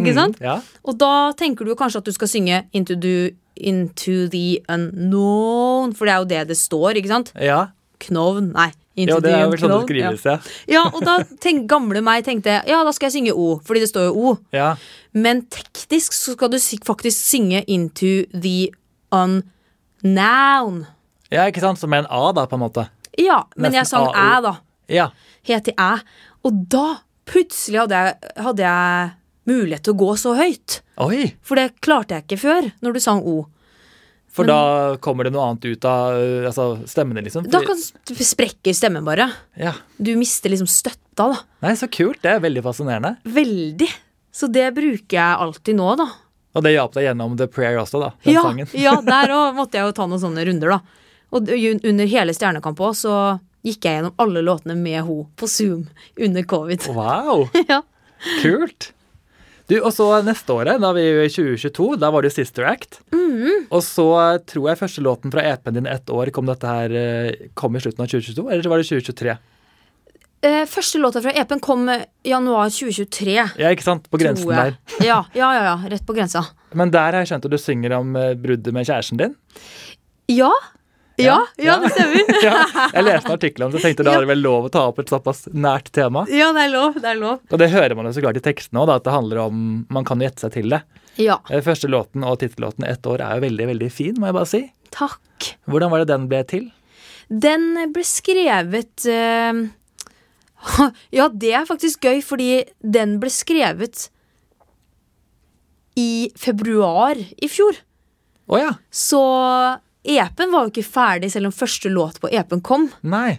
S2: Ikke sant?
S1: Mm, ja.
S2: Og da tenker du jo kanskje at du skal synge Into the, into the Unknown, for det er jo det det står, ikke sant?
S1: ja.
S2: Knovn. Nei.
S1: Jo,
S2: Into
S1: det
S2: the
S1: er vel sånn det
S2: Unknown. Ja.
S1: skrives, ja.
S2: Ja, og da tenk, gamle meg tenkte Ja, da skal jeg synge O, fordi det står jo O.
S1: ja.
S2: Men teknisk så skal du si- faktisk synge into the unnown.
S1: Ja, ikke sant? Som en A, da, på en måte.
S2: Ja, men jeg
S1: Nesten
S2: sang æ,
S1: AO.
S2: da.
S1: Ja.
S2: Helt til æ. Og da plutselig hadde jeg, hadde jeg mulighet til å gå så høyt.
S1: Oi!
S2: For det klarte jeg ikke før, når du sang O.
S1: For da kommer det noe annet ut av uh, altså, stemmene, liksom.
S2: Da
S1: Fordi-
S2: kan sprekker stemmen bare.
S1: ja.
S2: Du mister liksom støtta, da.
S1: Nei, så kult. Det er veldig fascinerende.
S2: Veldig. Så det bruker jeg alltid nå, da.
S1: Og det hjalp deg gjennom The Prayer også, da. Den
S2: ja,
S1: sangen.
S2: ja, der òg måtte jeg jo ta noen sånne runder, da. Og d- ju- under hele Stjernekamp òg så gikk jeg gjennom alle låtene med ho på Zoom under covid.
S1: Wow!
S2: Ja.
S1: Kult. Du, og så neste året, da vi i 2022, da var det jo Sister Act.
S2: Mm.
S1: Og så tror jeg første låten fra EP-en din ett år kom dette her eh, kom i slutten av 2022, eller så var det 2023?
S2: Eh, første låta fra EP-en kom eh, januar 2023.
S1: Ja, ikke sant? På grensen
S2: tror jeg.
S1: der.
S2: Ja, ja, ja, ja. Rett på grensa.
S1: Men der har jeg skjønt at du synger om eh, bruddet med kjæresten din.
S2: Ja. Ja,
S1: Ja,
S2: ja,
S1: ja.
S2: det stemmer.
S1: Ja, jeg leste en artikkel om det, så tenkte da er det vel lov å ta opp et såpass nært tema.
S2: Ja, det er lov. Det er lov.
S1: Og det hører man jo så klart i tekstene òg, at det handler om Man kan jo gjette seg til det.
S2: Ja.
S1: Eh, Første låten og tittellåten ett år er jo veldig, veldig fin, må jeg bare si.
S2: Takk.
S1: Hvordan var det den ble til?
S2: Den ble skrevet eh, Ja, det er faktisk gøy, fordi den ble skrevet i februar i fjor.
S1: Å ja.
S2: Så EP-en var jo ikke ferdig selv om første låt på EP-en kom.
S1: Nei.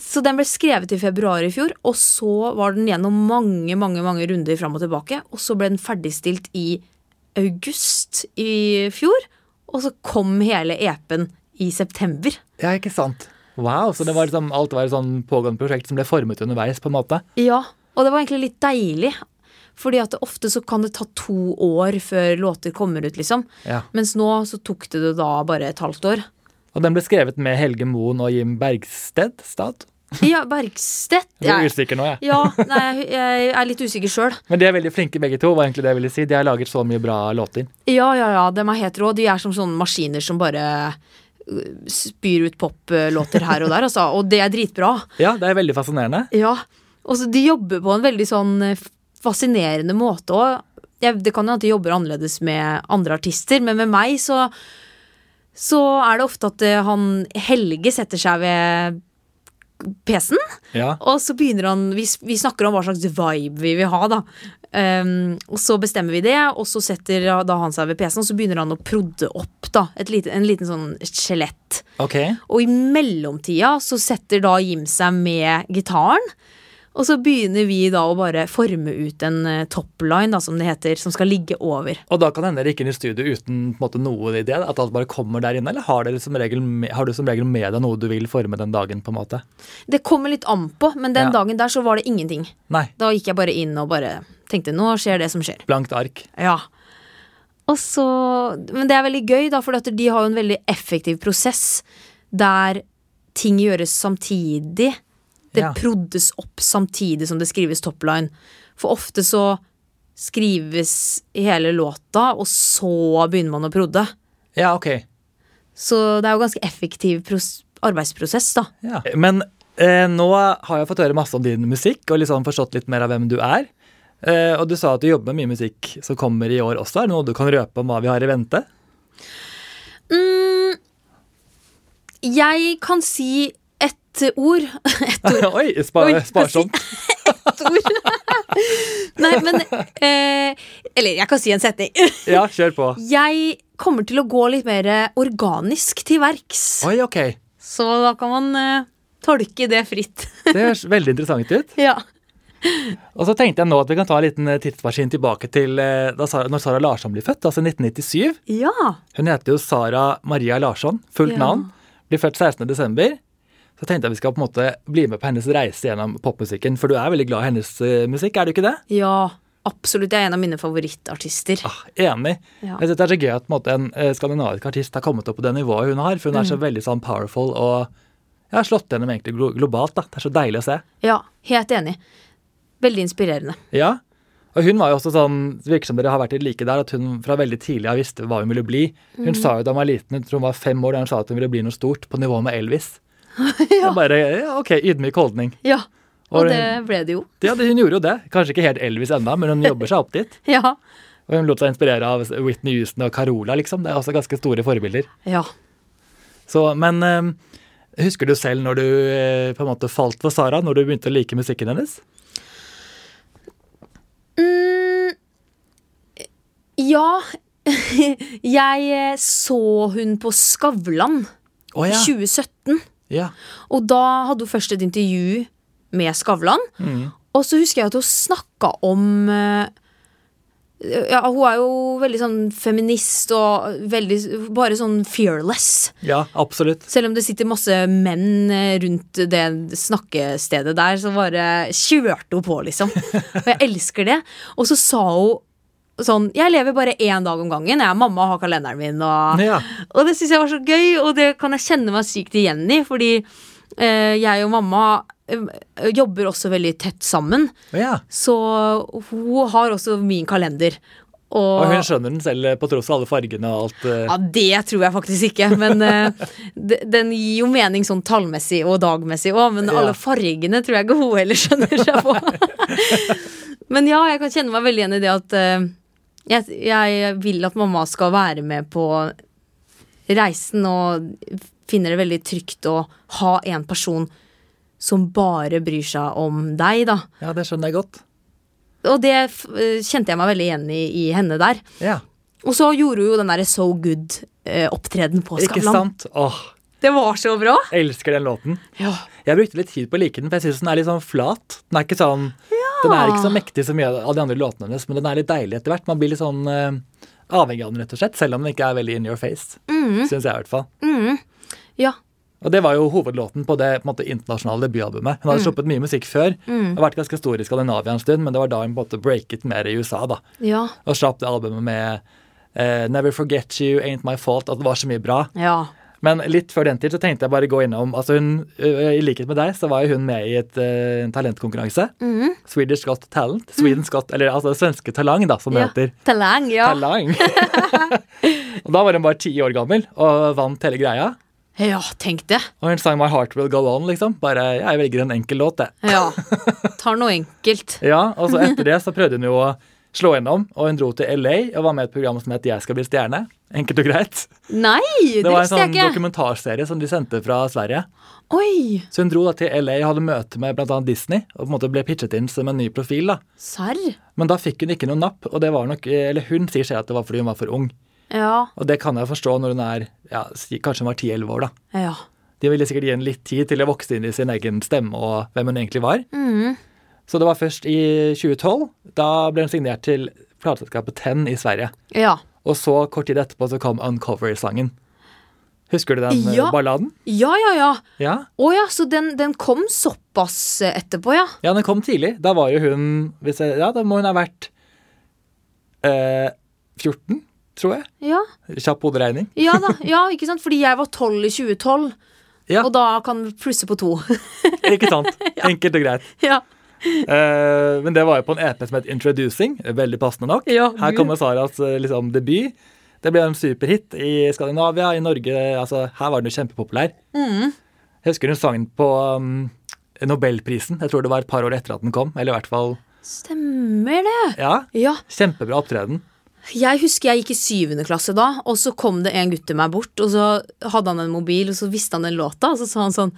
S2: Så den ble skrevet i februar i fjor, og så var den gjennom mange mange, mange runder fram og tilbake. Og så ble den ferdigstilt i august i fjor, og så kom hele EP-en i september.
S1: Ja, ikke sant. Wow, så det var liksom, alt var et sånn pågående prosjekt som ble formet underveis, på en måte.
S2: Ja, og det var egentlig litt deilig. Fordi at det ofte så kan det ta to år før låter kommer ut, liksom.
S1: Ja.
S2: Mens nå så tok det det da bare et halvt år.
S1: Og den ble skrevet med Helge Moen og Jim Bergsted? Stad?
S2: Ja, Bergstedt
S1: Jeg er
S2: jeg,
S1: usikker nå, jeg.
S2: Ja, nei, jeg er litt usikker sjøl.
S1: Men de er veldig flinke begge to, var egentlig det jeg ville si. De har laget så mye bra låter.
S2: Ja, ja, ja, dem er helt rå. De er som sånne maskiner som bare øh, spyr ut poplåter her og der, altså. Og det er dritbra.
S1: Ja, det er veldig fascinerende.
S2: Ja. Og så de jobber på en veldig sånn eh, fascinerende måte òg. Det kan jo at de jobber annerledes med andre artister, men med meg så så er det ofte at eh, han Helge setter seg ved PC-en,
S1: Ja.
S2: og så begynner han vi, s- vi snakker om hva slags vibe vi vil ha, da. Ehm, og så bestemmer vi det, og så setter da han seg ved PC-en, og så begynner han å prodde opp, da. Et lite, en liten sånn skjelett.
S1: Ok.
S2: Og i mellomtida så setter da Jim seg med gitaren. Og så begynner vi da å bare forme ut en eh, topline, da, som det heter, som skal ligge over.
S1: Og da kan hende dere gikk inn i studio uten på en måte, noen idé? At alt bare kommer der inne? Eller har, dere som regel, med- har du som regel med deg noe du vil forme den dagen, på en måte?
S2: Det kommer litt an på, men den
S1: Ja.
S2: dagen der så var det ingenting.
S1: Nei.
S2: Da gikk jeg bare inn og bare tenkte nå skjer det som skjer.
S1: Blankt ark.
S2: Ja. Og så, men det er veldig gøy, da, for at de har jo en veldig effektiv prosess der ting gjøres samtidig. Det
S1: Ja.
S2: proddes opp samtidig som det skrives topline. For ofte så skrives hele låta, og så begynner man å prodde.
S1: Ja, ok.
S2: Så det er jo ganske effektiv pros arbeidsprosess, da.
S1: Ja. Men eh, nå har jeg fått høre masse om din musikk og liksom forstått litt mer av hvem du er. Eh, og du sa at du jobber med mye musikk som kommer i år også. Er det noe du kan røpe om hva vi har i vente?
S2: Mm, jeg kan si ett ord. Ett ord.
S1: Oi,
S2: Oi,
S1: spar, sparsomt.
S2: Ett ord. Nei, men eh, Eller jeg kan si en setning.
S1: Ja, kjør på.
S2: Jeg kommer til å gå litt mer organisk til verks.
S1: Oi, ok.
S2: Så da kan man eh, tolke det fritt.
S1: Det høres veldig interessant ut.
S2: ja.
S1: Og så tenkte jeg nå at vi kan ta en liten eh, tidsmaskin tilbake til eh, da Sara, når Sara Larsson ble født, altså 1997.
S2: ja.
S1: Hun heter jo Sara Maria Larsson, fullt
S2: Ja.
S1: navn. Blir født 16. desember. Så tenkte jeg vi skal på en måte bli med på hennes reise gjennom popmusikken, for du er veldig glad i hennes eh, musikk, er du ikke det?
S2: Ja, absolutt. Det er en av mine favorittartister.
S1: Ah, enig.
S2: Ja.
S1: Jeg synes det er så gøy at på en, måte, en eh, skandinavisk artist har kommet opp på det nivået hun har, for hun er
S2: Mm.
S1: så veldig sånn powerful og jeg har slått gjennom egentlig glo- globalt. da. Det er så deilig å se.
S2: Ja, helt enig. Veldig inspirerende.
S1: Ja. Og hun var jo også sånn, det virker som dere har vært litt like der, at hun fra veldig tidlig av visste hva hun ville bli. Hun sa jo da hun var liten, jeg tror hun var fem år, da hun sa at hun ville bli noe stort, på nivå med Elvis. Det er bare, ja, ok, ydmyk holdning.
S2: Ja,
S1: Og
S2: og
S1: det-
S2: det ble det jo.
S1: Ja, det- hun gjorde jo det. Kanskje ikke helt Elvis ennå, men hun jobber seg opp dit.
S2: Ja.
S1: Og hun lot seg inspirere av Whitney Houston og Carola, liksom. Det er også ganske store forbilder.
S2: ja.
S1: Så, men eh, husker du selv når du eh, på en måte falt for Sara, når du begynte å like musikken hennes?
S2: Mm, ja. Jeg eh, så hun på Skavlan
S1: Å
S2: i
S1: ja.
S2: 2017.
S1: ja.
S2: Og da hadde hun først et intervju med Skavlan.
S1: Mm.
S2: Og så husker jeg at hun snakka om eh, ja, Hun er jo veldig sånn feminist og veldig, bare sånn fearless.
S1: Ja, absolutt.
S2: Selv om det sitter masse menn eh, rundt det snakkestedet der, så bare kjørte hun på, liksom. Og jeg elsker det. Og så sa hun sånn Jeg lever bare én dag om gangen. Jeg er mamma og har kalenderen min. Og,
S1: Ja.
S2: og det syns jeg var så gøy, og det kan jeg kjenne meg sykt igjen i, fordi eh, jeg og mamma eh, jobber også veldig tett sammen.
S1: Å ja.
S2: Så hun har også min kalender. Og,
S1: Og hun skjønner den selv eh, på tross av alle fargene og alt. eh.
S2: ja, det tror jeg faktisk ikke, men eh, de- den gir jo mening sånn tallmessig og dagmessig òg, men
S1: Ja.
S2: alle fargene tror jeg ikke hun heller skjønner seg på. men ja, jeg kan kjenne meg veldig igjen i det at eh, jeg, jeg vil at mamma skal være med på reisen og finner det veldig trygt å ha en person som bare bryr seg om deg, da.
S1: Ja, det skjønner jeg godt.
S2: Og det f- eh, kjente jeg meg veldig igjen i, i henne der.
S1: Ja,
S2: Og så gjorde hun jo den derre So Good-opptreden på
S1: Ikke
S2: Skavlan.
S1: sant? Åh,
S2: Det var så bra!
S1: jeg elsker den låten.
S2: Ja.
S1: Jeg brukte litt tid på å like den, for jeg syns den er litt sånn flat. Den er ikke sånn Den er ikke så mektig som mye av de andre låtene hennes, men den er litt deilig etter hvert. Man blir litt sånn eh, avhengig av den, rett og slett, selv om den ikke er veldig in your face. Syns jeg, i hvert fall.
S2: Mm. ja.
S1: Og det var jo hovedlåten på det på en måte, internasjonale debutalbumet. Hun hadde sluppet mye musikk før. Har vært ganske stor i Skandinavia en stund, men det var da hun på en måte breaket mer i USA, da.
S2: Ja.
S1: Og slapp det albumet med eh, Never Forget You, Ain't My Fault, at det var så mye bra.
S2: Ja.
S1: Men litt før den tid så tenkte jeg bare gå innom altså hun, ø, I likhet med deg så var jo hun med i et, ø, en talentkonkurranse.
S2: Mm.
S1: Swedish Got Talent. Sweden Got, eller altså Svenske Talang, da, som det
S2: ja.
S1: heter.
S2: Talang, ja.
S1: Talang. og da var hun bare ti år gammel og vant hele greia.
S2: Ja, tenk det.
S1: Og hun sang My Heart Will Go On, liksom. Bare jeg velger en enkel låt, jeg.
S2: Ja. Tar noe enkelt.
S1: Ja, og så etter det så prøvde hun jo å slå gjennom, og hun dro til LA og var med i et program som het Jeg skal bli stjerne. Enkelt og greit.
S2: Nei, det,
S1: Det var en
S2: visste
S1: sånn
S2: jeg ikke.
S1: dokumentarserie som de sendte fra Sverige.
S2: Oi,
S1: Så hun dro da til LA og hadde møte med bl.a. Disney og på en måte ble pitchet inn som en ny profil. da.
S2: serr?
S1: Men da fikk hun ikke noe napp, og det var nok, eller hun sier selv at det var fordi hun var for ung.
S2: Ja.
S1: Og det kan jeg forstå når hun er ja, si- kanskje hun var 10-11 år. da.
S2: Ja.
S1: De ville sikkert gi henne litt tid til å vokse inn i sin egen stemme og hvem hun egentlig var.
S2: Mm.
S1: Så det var først i 2012. Da ble hun signert til plateselskapet Ten i Sverige.
S2: Ja.
S1: Og så kort tid etterpå så kom Uncover-sangen. Husker du den eh,
S2: Ja.
S1: balladen?
S2: Ja, ja, ja.
S1: Ja.
S2: Å ja, så den, den kom såpass etterpå, ja.
S1: Ja, den kom tidlig. Da var jo hun hvis jeg, Ja, da må hun ha vært eh, 14, tror jeg.
S2: Ja,
S1: Kjapp hoderegning.
S2: ja da. Ja, ikke sant? Fordi jeg var tolv i 2012,
S1: Ja.
S2: og da kan vi plusse på to.
S1: Ikke sant? Enkelt og greit.
S2: ja.
S1: Eh, men det var jo på en EP som het Introducing. Veldig passende nok.
S2: Ja,
S1: Her
S2: gud.
S1: kommer Saras eh, liksom, debut. Det ble en superhit i Skandinavia, i Norge. altså Her var den jo kjempepopulær.
S2: Mm.
S1: Jeg husker hun sang den på um, Nobelprisen. Jeg tror det var et par år etter at den kom. Eller i hvert fall
S2: Stemmer det.
S1: Ja,
S2: Ja.
S1: Kjempebra opptreden.
S2: Jeg husker jeg gikk i syvende klasse da, og så kom det en gutt til meg bort, og så hadde han en mobil, og så visste han den låta, og så sa han sånn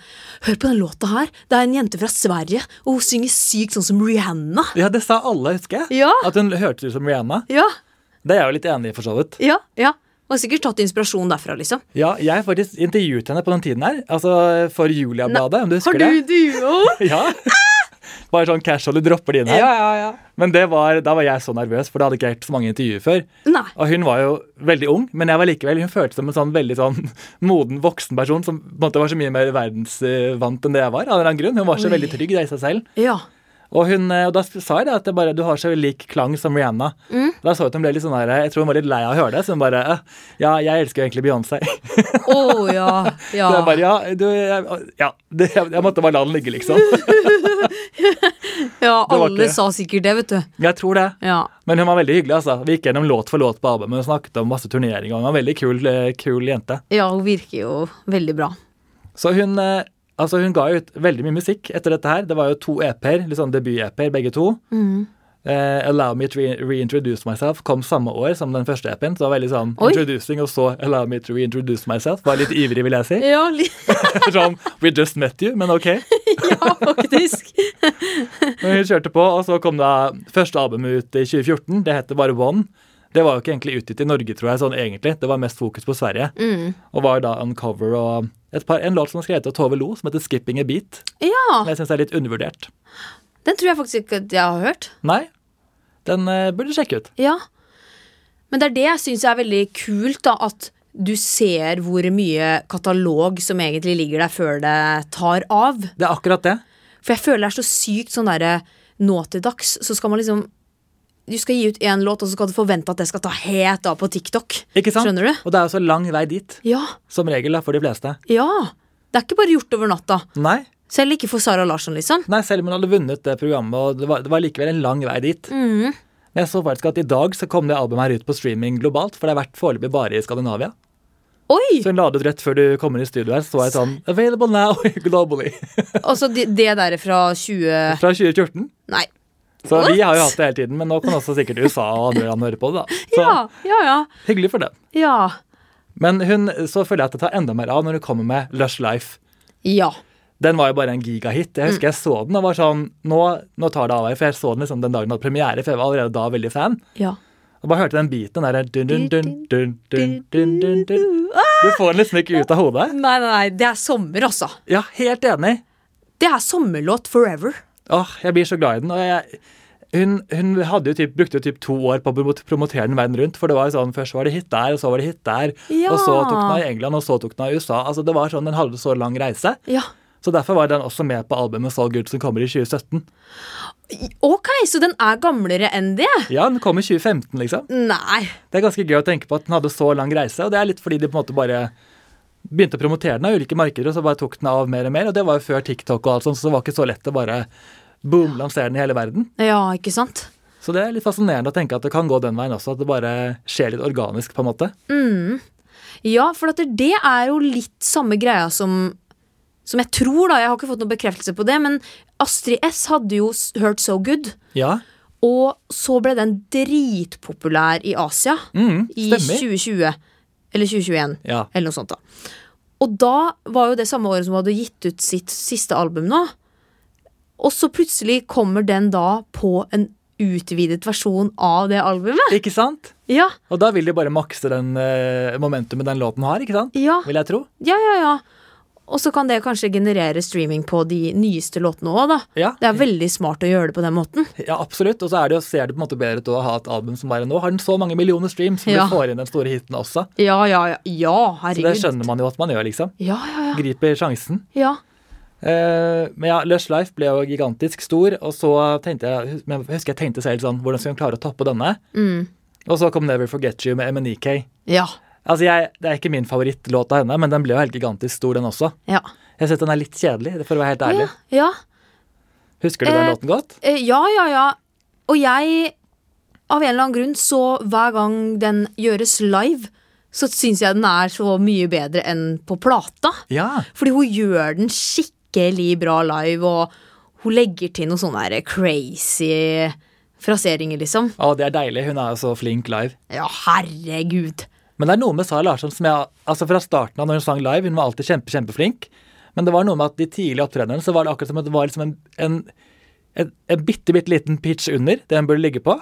S2: Hør på den låta her, det er en jente fra Sverige, og hun synger sykt sånn som Rihanna.
S1: Ja, Det sa alle, husker jeg.
S2: Ja.
S1: At hun hørtes ut som Rihanna.
S2: Ja,
S1: Det er jeg jo litt enig i, for så vidt.
S2: ja, ja. Og har sikkert tatt inspirasjon derfra, liksom.
S1: Ja, jeg faktisk intervjuet henne på den tiden her. Altså for Julia-bladet, om du husker
S2: Har du
S1: det.
S2: duo?
S1: Ja. Bare sånn casual, du dropper det inn her.
S2: ja, ja, ja.
S1: Men det var, da var jeg så nervøs, for da hadde jeg ikke hørt så mange intervjuer før.
S2: Nei.
S1: Og hun var jo veldig ung, men jeg var likevel, hun føltes som en sånn veldig sånn moden voksen person som på en måte var så mye mer verdensvant enn det jeg var. av en eller annen grunn. Hun var så
S2: Oi.
S1: veldig trygg da, i seg selv.
S2: Ja.
S1: Og, hun, eh, og da sa jeg det at det bare, du har så lik klang som Rihanna.
S2: Mm.
S1: Da så jeg at hun ble litt sånn der, jeg tror hun var litt lei av å høre det, så hun bare eh, Ja, jeg elsker jo egentlig Beyoncé.
S2: Å ja. Ja.
S1: Så jeg bare, ja, du, jeg, ja det, jeg, jeg måtte bare la den ligge, liksom.
S2: ja
S1: var
S2: alle
S1: ikke-
S2: sa sikkert det, vet du.
S1: Jeg tror det.
S2: Ja.
S1: Men hun var veldig hyggelig. altså. Vi gikk gjennom låt for låt på albumet og snakket om masse turneringer. Hun var en veldig kul, eh, kul jente.
S2: ja, hun virker jo veldig bra.
S1: Så hun, eh, altså hun ga jo ut veldig mye musikk etter dette her. Det var jo to EP-er, litt sånn debut-EP-er begge to. Eh, Allow Me To Re- Reintroduce Myself kom samme år som den første EP-en. Så det var veldig sånn
S2: Oi.
S1: introducing, og så Allow Me To Reintroduce Myself. Var litt ivrig, vil jeg si.
S2: Ja, li-
S1: sånn We Just Met You, men ok.
S2: ja faktisk.
S1: Men hun kjørte på, og så kom da første albumet ut i 2014. Det heter bare One. Det var jo ikke egentlig utgitt i Norge, tror jeg, sånn egentlig. Det var mest fokus på Sverige. Og var da Uncover og et par, en låt som var skrevet av Tove Lo, som heter Skipping a Beat.
S2: Ja.
S1: Som jeg syns er litt undervurdert.
S2: Den tror jeg faktisk ikke at jeg har hørt.
S1: Nei, den eh, burde du sjekke ut.
S2: Ja. Men det er det jeg syns er veldig kult, da. At du ser hvor mye katalog som egentlig ligger der før det tar av.
S1: Det er akkurat det.
S2: For jeg føler det er så sykt sånn derre nå til dags, så skal man liksom Du skal gi ut én låt, og så skal du forvente at det skal ta helt av på TikTok.
S1: Ikke sant?
S2: Skjønner du?
S1: Og det er jo så lang vei dit,
S2: Ja.
S1: som regel, da, for de fleste.
S2: Ja. Det er ikke bare gjort over natta.
S1: Nei,
S2: Selv ikke for Sara Larsson, liksom.
S1: Nei selv om hun hadde vunnet det programmet, og det var, det var likevel en lang vei dit.
S2: Mm.
S1: Men jeg så faktisk at i dag så kom det albumet her ut på streaming globalt, for det har vært foreløpig bare i Skandinavia.
S2: Oi!
S1: Så hun la det ut rett før du kom inn i studio her, så var jeg sånn Available now globally.
S2: Altså det, det der fra 20...
S1: Fra 2014.
S2: Nei.
S1: Så
S2: What?
S1: vi har jo hatt det hele tiden, men nå kan også sikkert USA og andre land høre på det, da. Så
S2: Ja, ja, ja.
S1: hyggelig for det.
S2: Ja.
S1: Men hun, så føler jeg at det tar enda mer av når hun kommer med Lush Life.
S2: ja.
S1: Den var jo bare en gigahit. Jeg husker jeg så den og var sånn Nå, nå tar det av her, for jeg så den liksom den dagen den hadde premiere, for jeg var allerede da veldig fan.
S2: ja.
S1: Og bare hørte den biten der dun, dun, dun, dun, dun, dun, dun, dun. Du får den liksom ikke ut av hodet.
S2: Nei, nei, nei. Det er sommer, altså.
S1: Ja, helt enig.
S2: Det er sommerlåt forever.
S1: Åh, jeg blir så glad i den. Og jeg, hun hun hadde jo typ, brukte jo typ to år på å promo- promotere den verden rundt. For det var jo sånn, først var det hit der, og så var det hit der.
S2: Ja.
S1: Og så tok den av i England, og så tok den av i USA. Altså det var sånn, Den hadde så lang reise.
S2: Ja.
S1: Så derfor var den også med på albumet So Good som kommer i 2017.
S2: Ok, så den er gamlere enn det?
S1: Ja, den kom i 2015, liksom.
S2: Nei.
S1: Det er ganske gøy å tenke på at den hadde så lang reise. Og det er litt fordi de på en måte bare begynte å promotere den av ulike markeder, og så bare tok den av mer og mer. Og det var jo før TikTok og alt sånt, så det var ikke så lett å bare boom, lansere den i hele verden.
S2: Ja, ikke sant?
S1: Så det er litt fascinerende å tenke at det kan gå den veien også, at det bare skjer litt organisk, på en måte.
S2: Ja, for at det er jo litt samme greia som Som jeg tror, da. Jeg har ikke fått noen bekreftelse på det, men Astrid S hadde jo s- hørt So Good.
S1: Ja,
S2: Og så ble den dritpopulær i Asia
S1: mm,
S2: i
S1: stemmer.
S2: 2020. Eller 2021.
S1: Ja,
S2: Eller noe sånt da Og da var jo det samme året som hun hadde gitt ut sitt siste album nå. Og så plutselig kommer den da på en utvidet versjon av det albumet.
S1: ikke sant?
S2: Ja,
S1: Og da vil de bare makse den eh, momentumet den låten har, ikke sant?
S2: ja,
S1: Vil jeg tro.
S2: ja, ja, ja. Og så kan det kanskje generere streaming på de nyeste låtene òg, da.
S1: Ja,
S2: Det er veldig smart å gjøre det på den måten.
S1: ja absolutt. Og så er det jo, ser det på en måte bedre ut å ha et album som bare nå har den så mange millioner streams, som
S2: Ja.
S1: du får inn den store hiten også.
S2: Ja, ja, ja. Ja,
S1: Så det
S2: herregud.
S1: skjønner man jo at man gjør, liksom.
S2: Ja, ja, ja.
S1: Griper sjansen.
S2: ja.
S1: Eh, men ja, Lush Life ble jo gigantisk stor, og så tenkte jeg men jeg husker jeg tenkte selv sånn Hvordan skal hun klare å toppe denne?
S2: Mm.
S1: Og så kom Never Forget You med E MNEK.
S2: Ja.
S1: Altså, jeg, Det er ikke min favorittlåt av henne, men den ble jo helt gigantisk stor, den også.
S2: Ja.
S1: Jeg synes den er litt kjedelig, for å være helt ærlig.
S2: Ja, ja.
S1: Husker du den
S2: Eh,
S1: låten godt?
S2: Eh, Ja, ja, ja. Og jeg, av en eller annen grunn, så hver gang den gjøres live, så syns jeg den er så mye bedre enn på plata.
S1: Ja.
S2: Fordi hun gjør den skikkelig bra live, og Hun legger til noen sånne her crazy fraseringer, liksom.
S1: Å, det er deilig. Hun er jo så flink live.
S2: Ja, herregud.
S1: Men det er noe med Sara Larsson som jeg Altså fra starten av når hun sang live, hun var alltid kjempe, kjempeflink. Men det var noe med at de tidlige opptredenene så var det akkurat som at det var liksom en, en, en, en bitte, bitte liten pitch under det hun burde ligge på.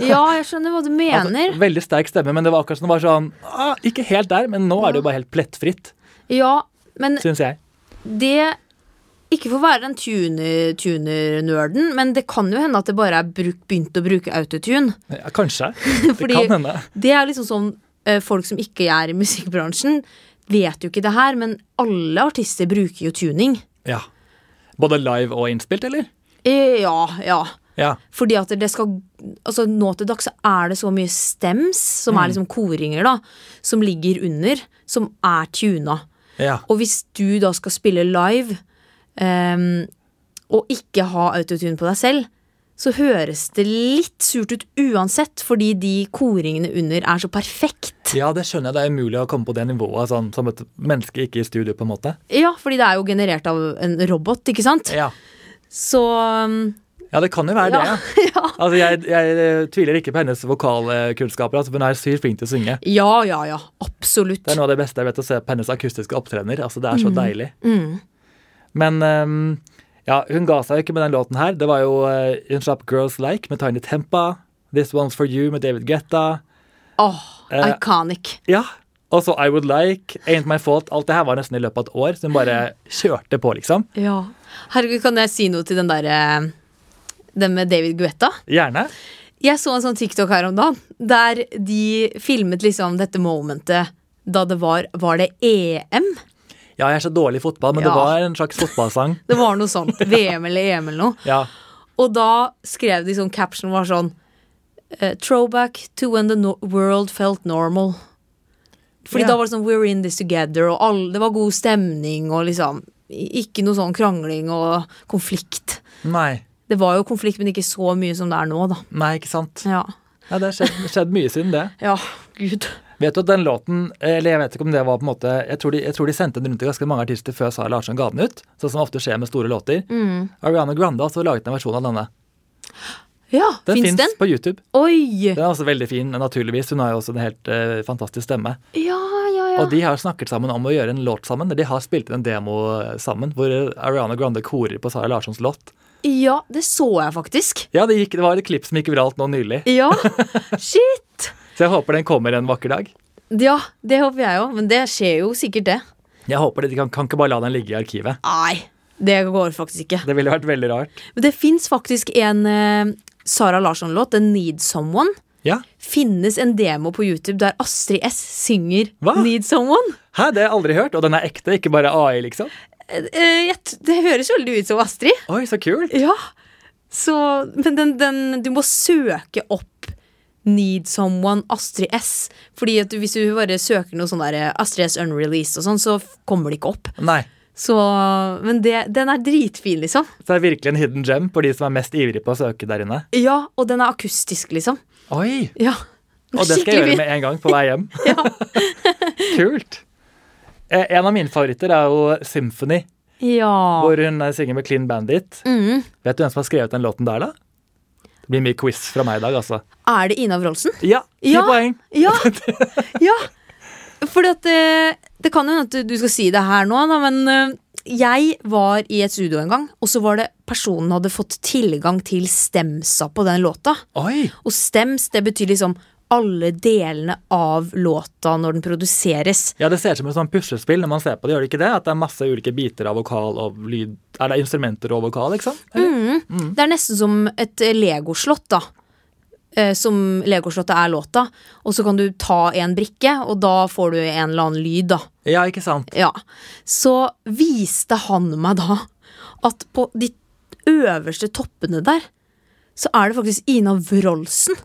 S2: Ja, jeg skjønner hva du mener.
S1: Altså, veldig sterk stemme, men det var akkurat som det var sånn ah, Ikke helt der, men nå er det jo bare helt plettfritt,
S2: Ja, men
S1: syns jeg.
S2: det Ikke for å være den tuner- tuner-nerden, men det kan jo hende at det bare er bruk, begynt å bruke autotune.
S1: Ja, kanskje.
S2: Fordi-
S1: det kan hende.
S2: Det er liksom sånn eh, folk som ikke er i musikkbransjen, vet jo ikke det her, men alle artister bruker jo tuning.
S1: Ja. Både live og innspilt, eller?
S2: Eh, Ja, ja.
S1: Ja.
S2: Fordi at det skal Altså nå til dags så er det så mye stems, som er liksom koringer, da, som ligger under, som er tuna.
S1: ja.
S2: Og hvis du da skal spille live ehm, og ikke ha autotune på deg selv, så høres det litt surt ut uansett, fordi de koringene under er så perfekt.
S1: Ja, det skjønner jeg. Det er umulig å komme på det nivået sånn, som et menneske ikke i studio, på en måte.
S2: Ja, fordi det er jo generert av en robot, ikke sant?
S1: Ja,
S2: Så um,
S1: ja det kan jo være
S2: Ja.
S1: det. Ja. Altså, jeg, jeg eh, tviler ikke på hennes vokalkunnskaper, altså, for hun er sykt flink til å synge.
S2: Ja, ja, ja. Absolutt.
S1: Det er noe av det beste jeg vet å se på hennes akustiske opptredener. Altså, det er så deilig.
S2: Mm.
S1: Men ehm, ja, hun ga seg jo ikke med den låten her. Det var jo eh, In Shop Girls Like med Tiny Tempa, This One's For You med David Guetta.
S2: Åh,
S1: Eh,
S2: iconic.
S1: Ja, og så I Would Like, Ain't My Fault. Alt det her var nesten i løpet av et år, så hun bare kjørte på, liksom.
S2: Ja. Herregud, kan jeg si noe til den derre Den med David Guetta?
S1: Gjerne.
S2: Jeg så en sånn TikTok her om dagen, der de filmet liksom dette momentet da det var Var det E EM?
S1: Ja, jeg er så dårlig i fotball, men det
S2: Ja.
S1: var en slags fotballsang.
S2: Det var noe sånt. VM eller EM eller noe.
S1: Ja,
S2: Og da skrev de sånn caption var sånn eh, Throwback to when the no world felt normal. Fordi
S1: Ja.
S2: da var det sånn We're in this together, og all, det var god stemning og liksom i- Ikke noe sånn krangling og konflikt.
S1: nei.
S2: Det var jo konflikt, men ikke så mye som det er nå, da.
S1: Nei, ikke sant.
S2: Ja.
S1: Ja, Det har skjedd, skjedd mye siden det.
S2: Ja, gud.
S1: Vet du at den låten, eller jeg vet ikke om det var på en måte Jeg tror de, jeg tror de sendte den rundt til ganske mange artister før Sara Larsson ga den ut. Sånn som ofte skjer med store låter. Ariana Grande har også laget en versjon av denne.
S2: Ja,
S1: Den
S2: fins den?
S1: fins på YouTube.
S2: Oi!
S1: Den er også veldig fin, naturligvis. Hun har jo også en helt eh, fantastisk stemme.
S2: Ja, ja, ja.
S1: Og de har snakket sammen om å gjøre en låt sammen. De har spilt inn en demo eh, sammen hvor eh, Ariana Grande korer på Sara Larssons låt.
S2: Ja, det så jeg faktisk.
S1: Ja, det, gikk, det var et klipp som gikk viralt nå nylig.
S2: Ja, shit!
S1: Så jeg håper den kommer en vakker dag.
S2: Ja, det håper jeg òg, men det skjer jo sikkert, det.
S1: Jeg håper det, De kan, kan ikke bare la den ligge i arkivet.
S2: Nei, det går faktisk ikke.
S1: Det ville vært veldig rart.
S2: Men det fins faktisk en eh, Sara Larsson-låt, The Need Someone.
S1: Ja,
S2: Finnes en demo på YouTube der Astrid S synger
S1: Hva?
S2: Need Someone.
S1: Hæ, det har jeg aldri hørt, og den er ekte, ikke bare AI, liksom.
S2: Eh, eh, jeg t- det høres veldig ut som Astrid.
S1: Oi, så kult.
S2: Ja. Så Men den, den Du må søke opp Need Someone Astrid S. Fordi at du, hvis du bare søker noe sånn der eh, Astrid S Unreleased og sånn, så f- kommer det ikke opp.
S1: Nei,
S2: Så Men det, den er dritfin, liksom.
S1: så det er virkelig en hidden gem for de som er mest ivrige på å søke der inne.
S2: Ja, og den er akustisk, liksom.
S1: Oi,
S2: Ja.
S1: og det skal jeg gjøre med en gang på vei hjem. kult. Eh, En av mine favoritter er jo Symphony,
S2: Ja.
S1: hvor hun eh, synger med Clean Bandit.
S2: Mm.
S1: Vet du hvem som har skrevet den låten der, da? Det blir mye quiz fra meg i dag, altså.
S2: Er det Ina Wroldsen?
S1: Ja, ti
S2: Ja.
S1: poeng.
S2: Ja. ja. Fordi at eh, Det kan jo hende at du skal si det her nå, da, men eh, jeg var i et studio en gang, og så var det personen hadde fått tilgang til stemsa på den låta.
S1: Oi,
S2: Og stems, det betyr liksom alle delene av låta når den produseres.
S1: ja det ser ut som et sånt puslespill når man ser på det, gjør det ikke det? At det er masse ulike biter av vokal og lyd, er det instrumenter og vokal, liksom?
S2: Mm.
S1: Eller?
S2: Det er nesten som et eh, legoslott, da. Eh, Som legoslottet er låta. Og så kan du ta en brikke, og da får du en eller annen lyd, da.
S1: Ja, ikke sant?
S2: Ja. Så viste han meg da at på de øverste toppene der, så er det faktisk Ina Wroldsen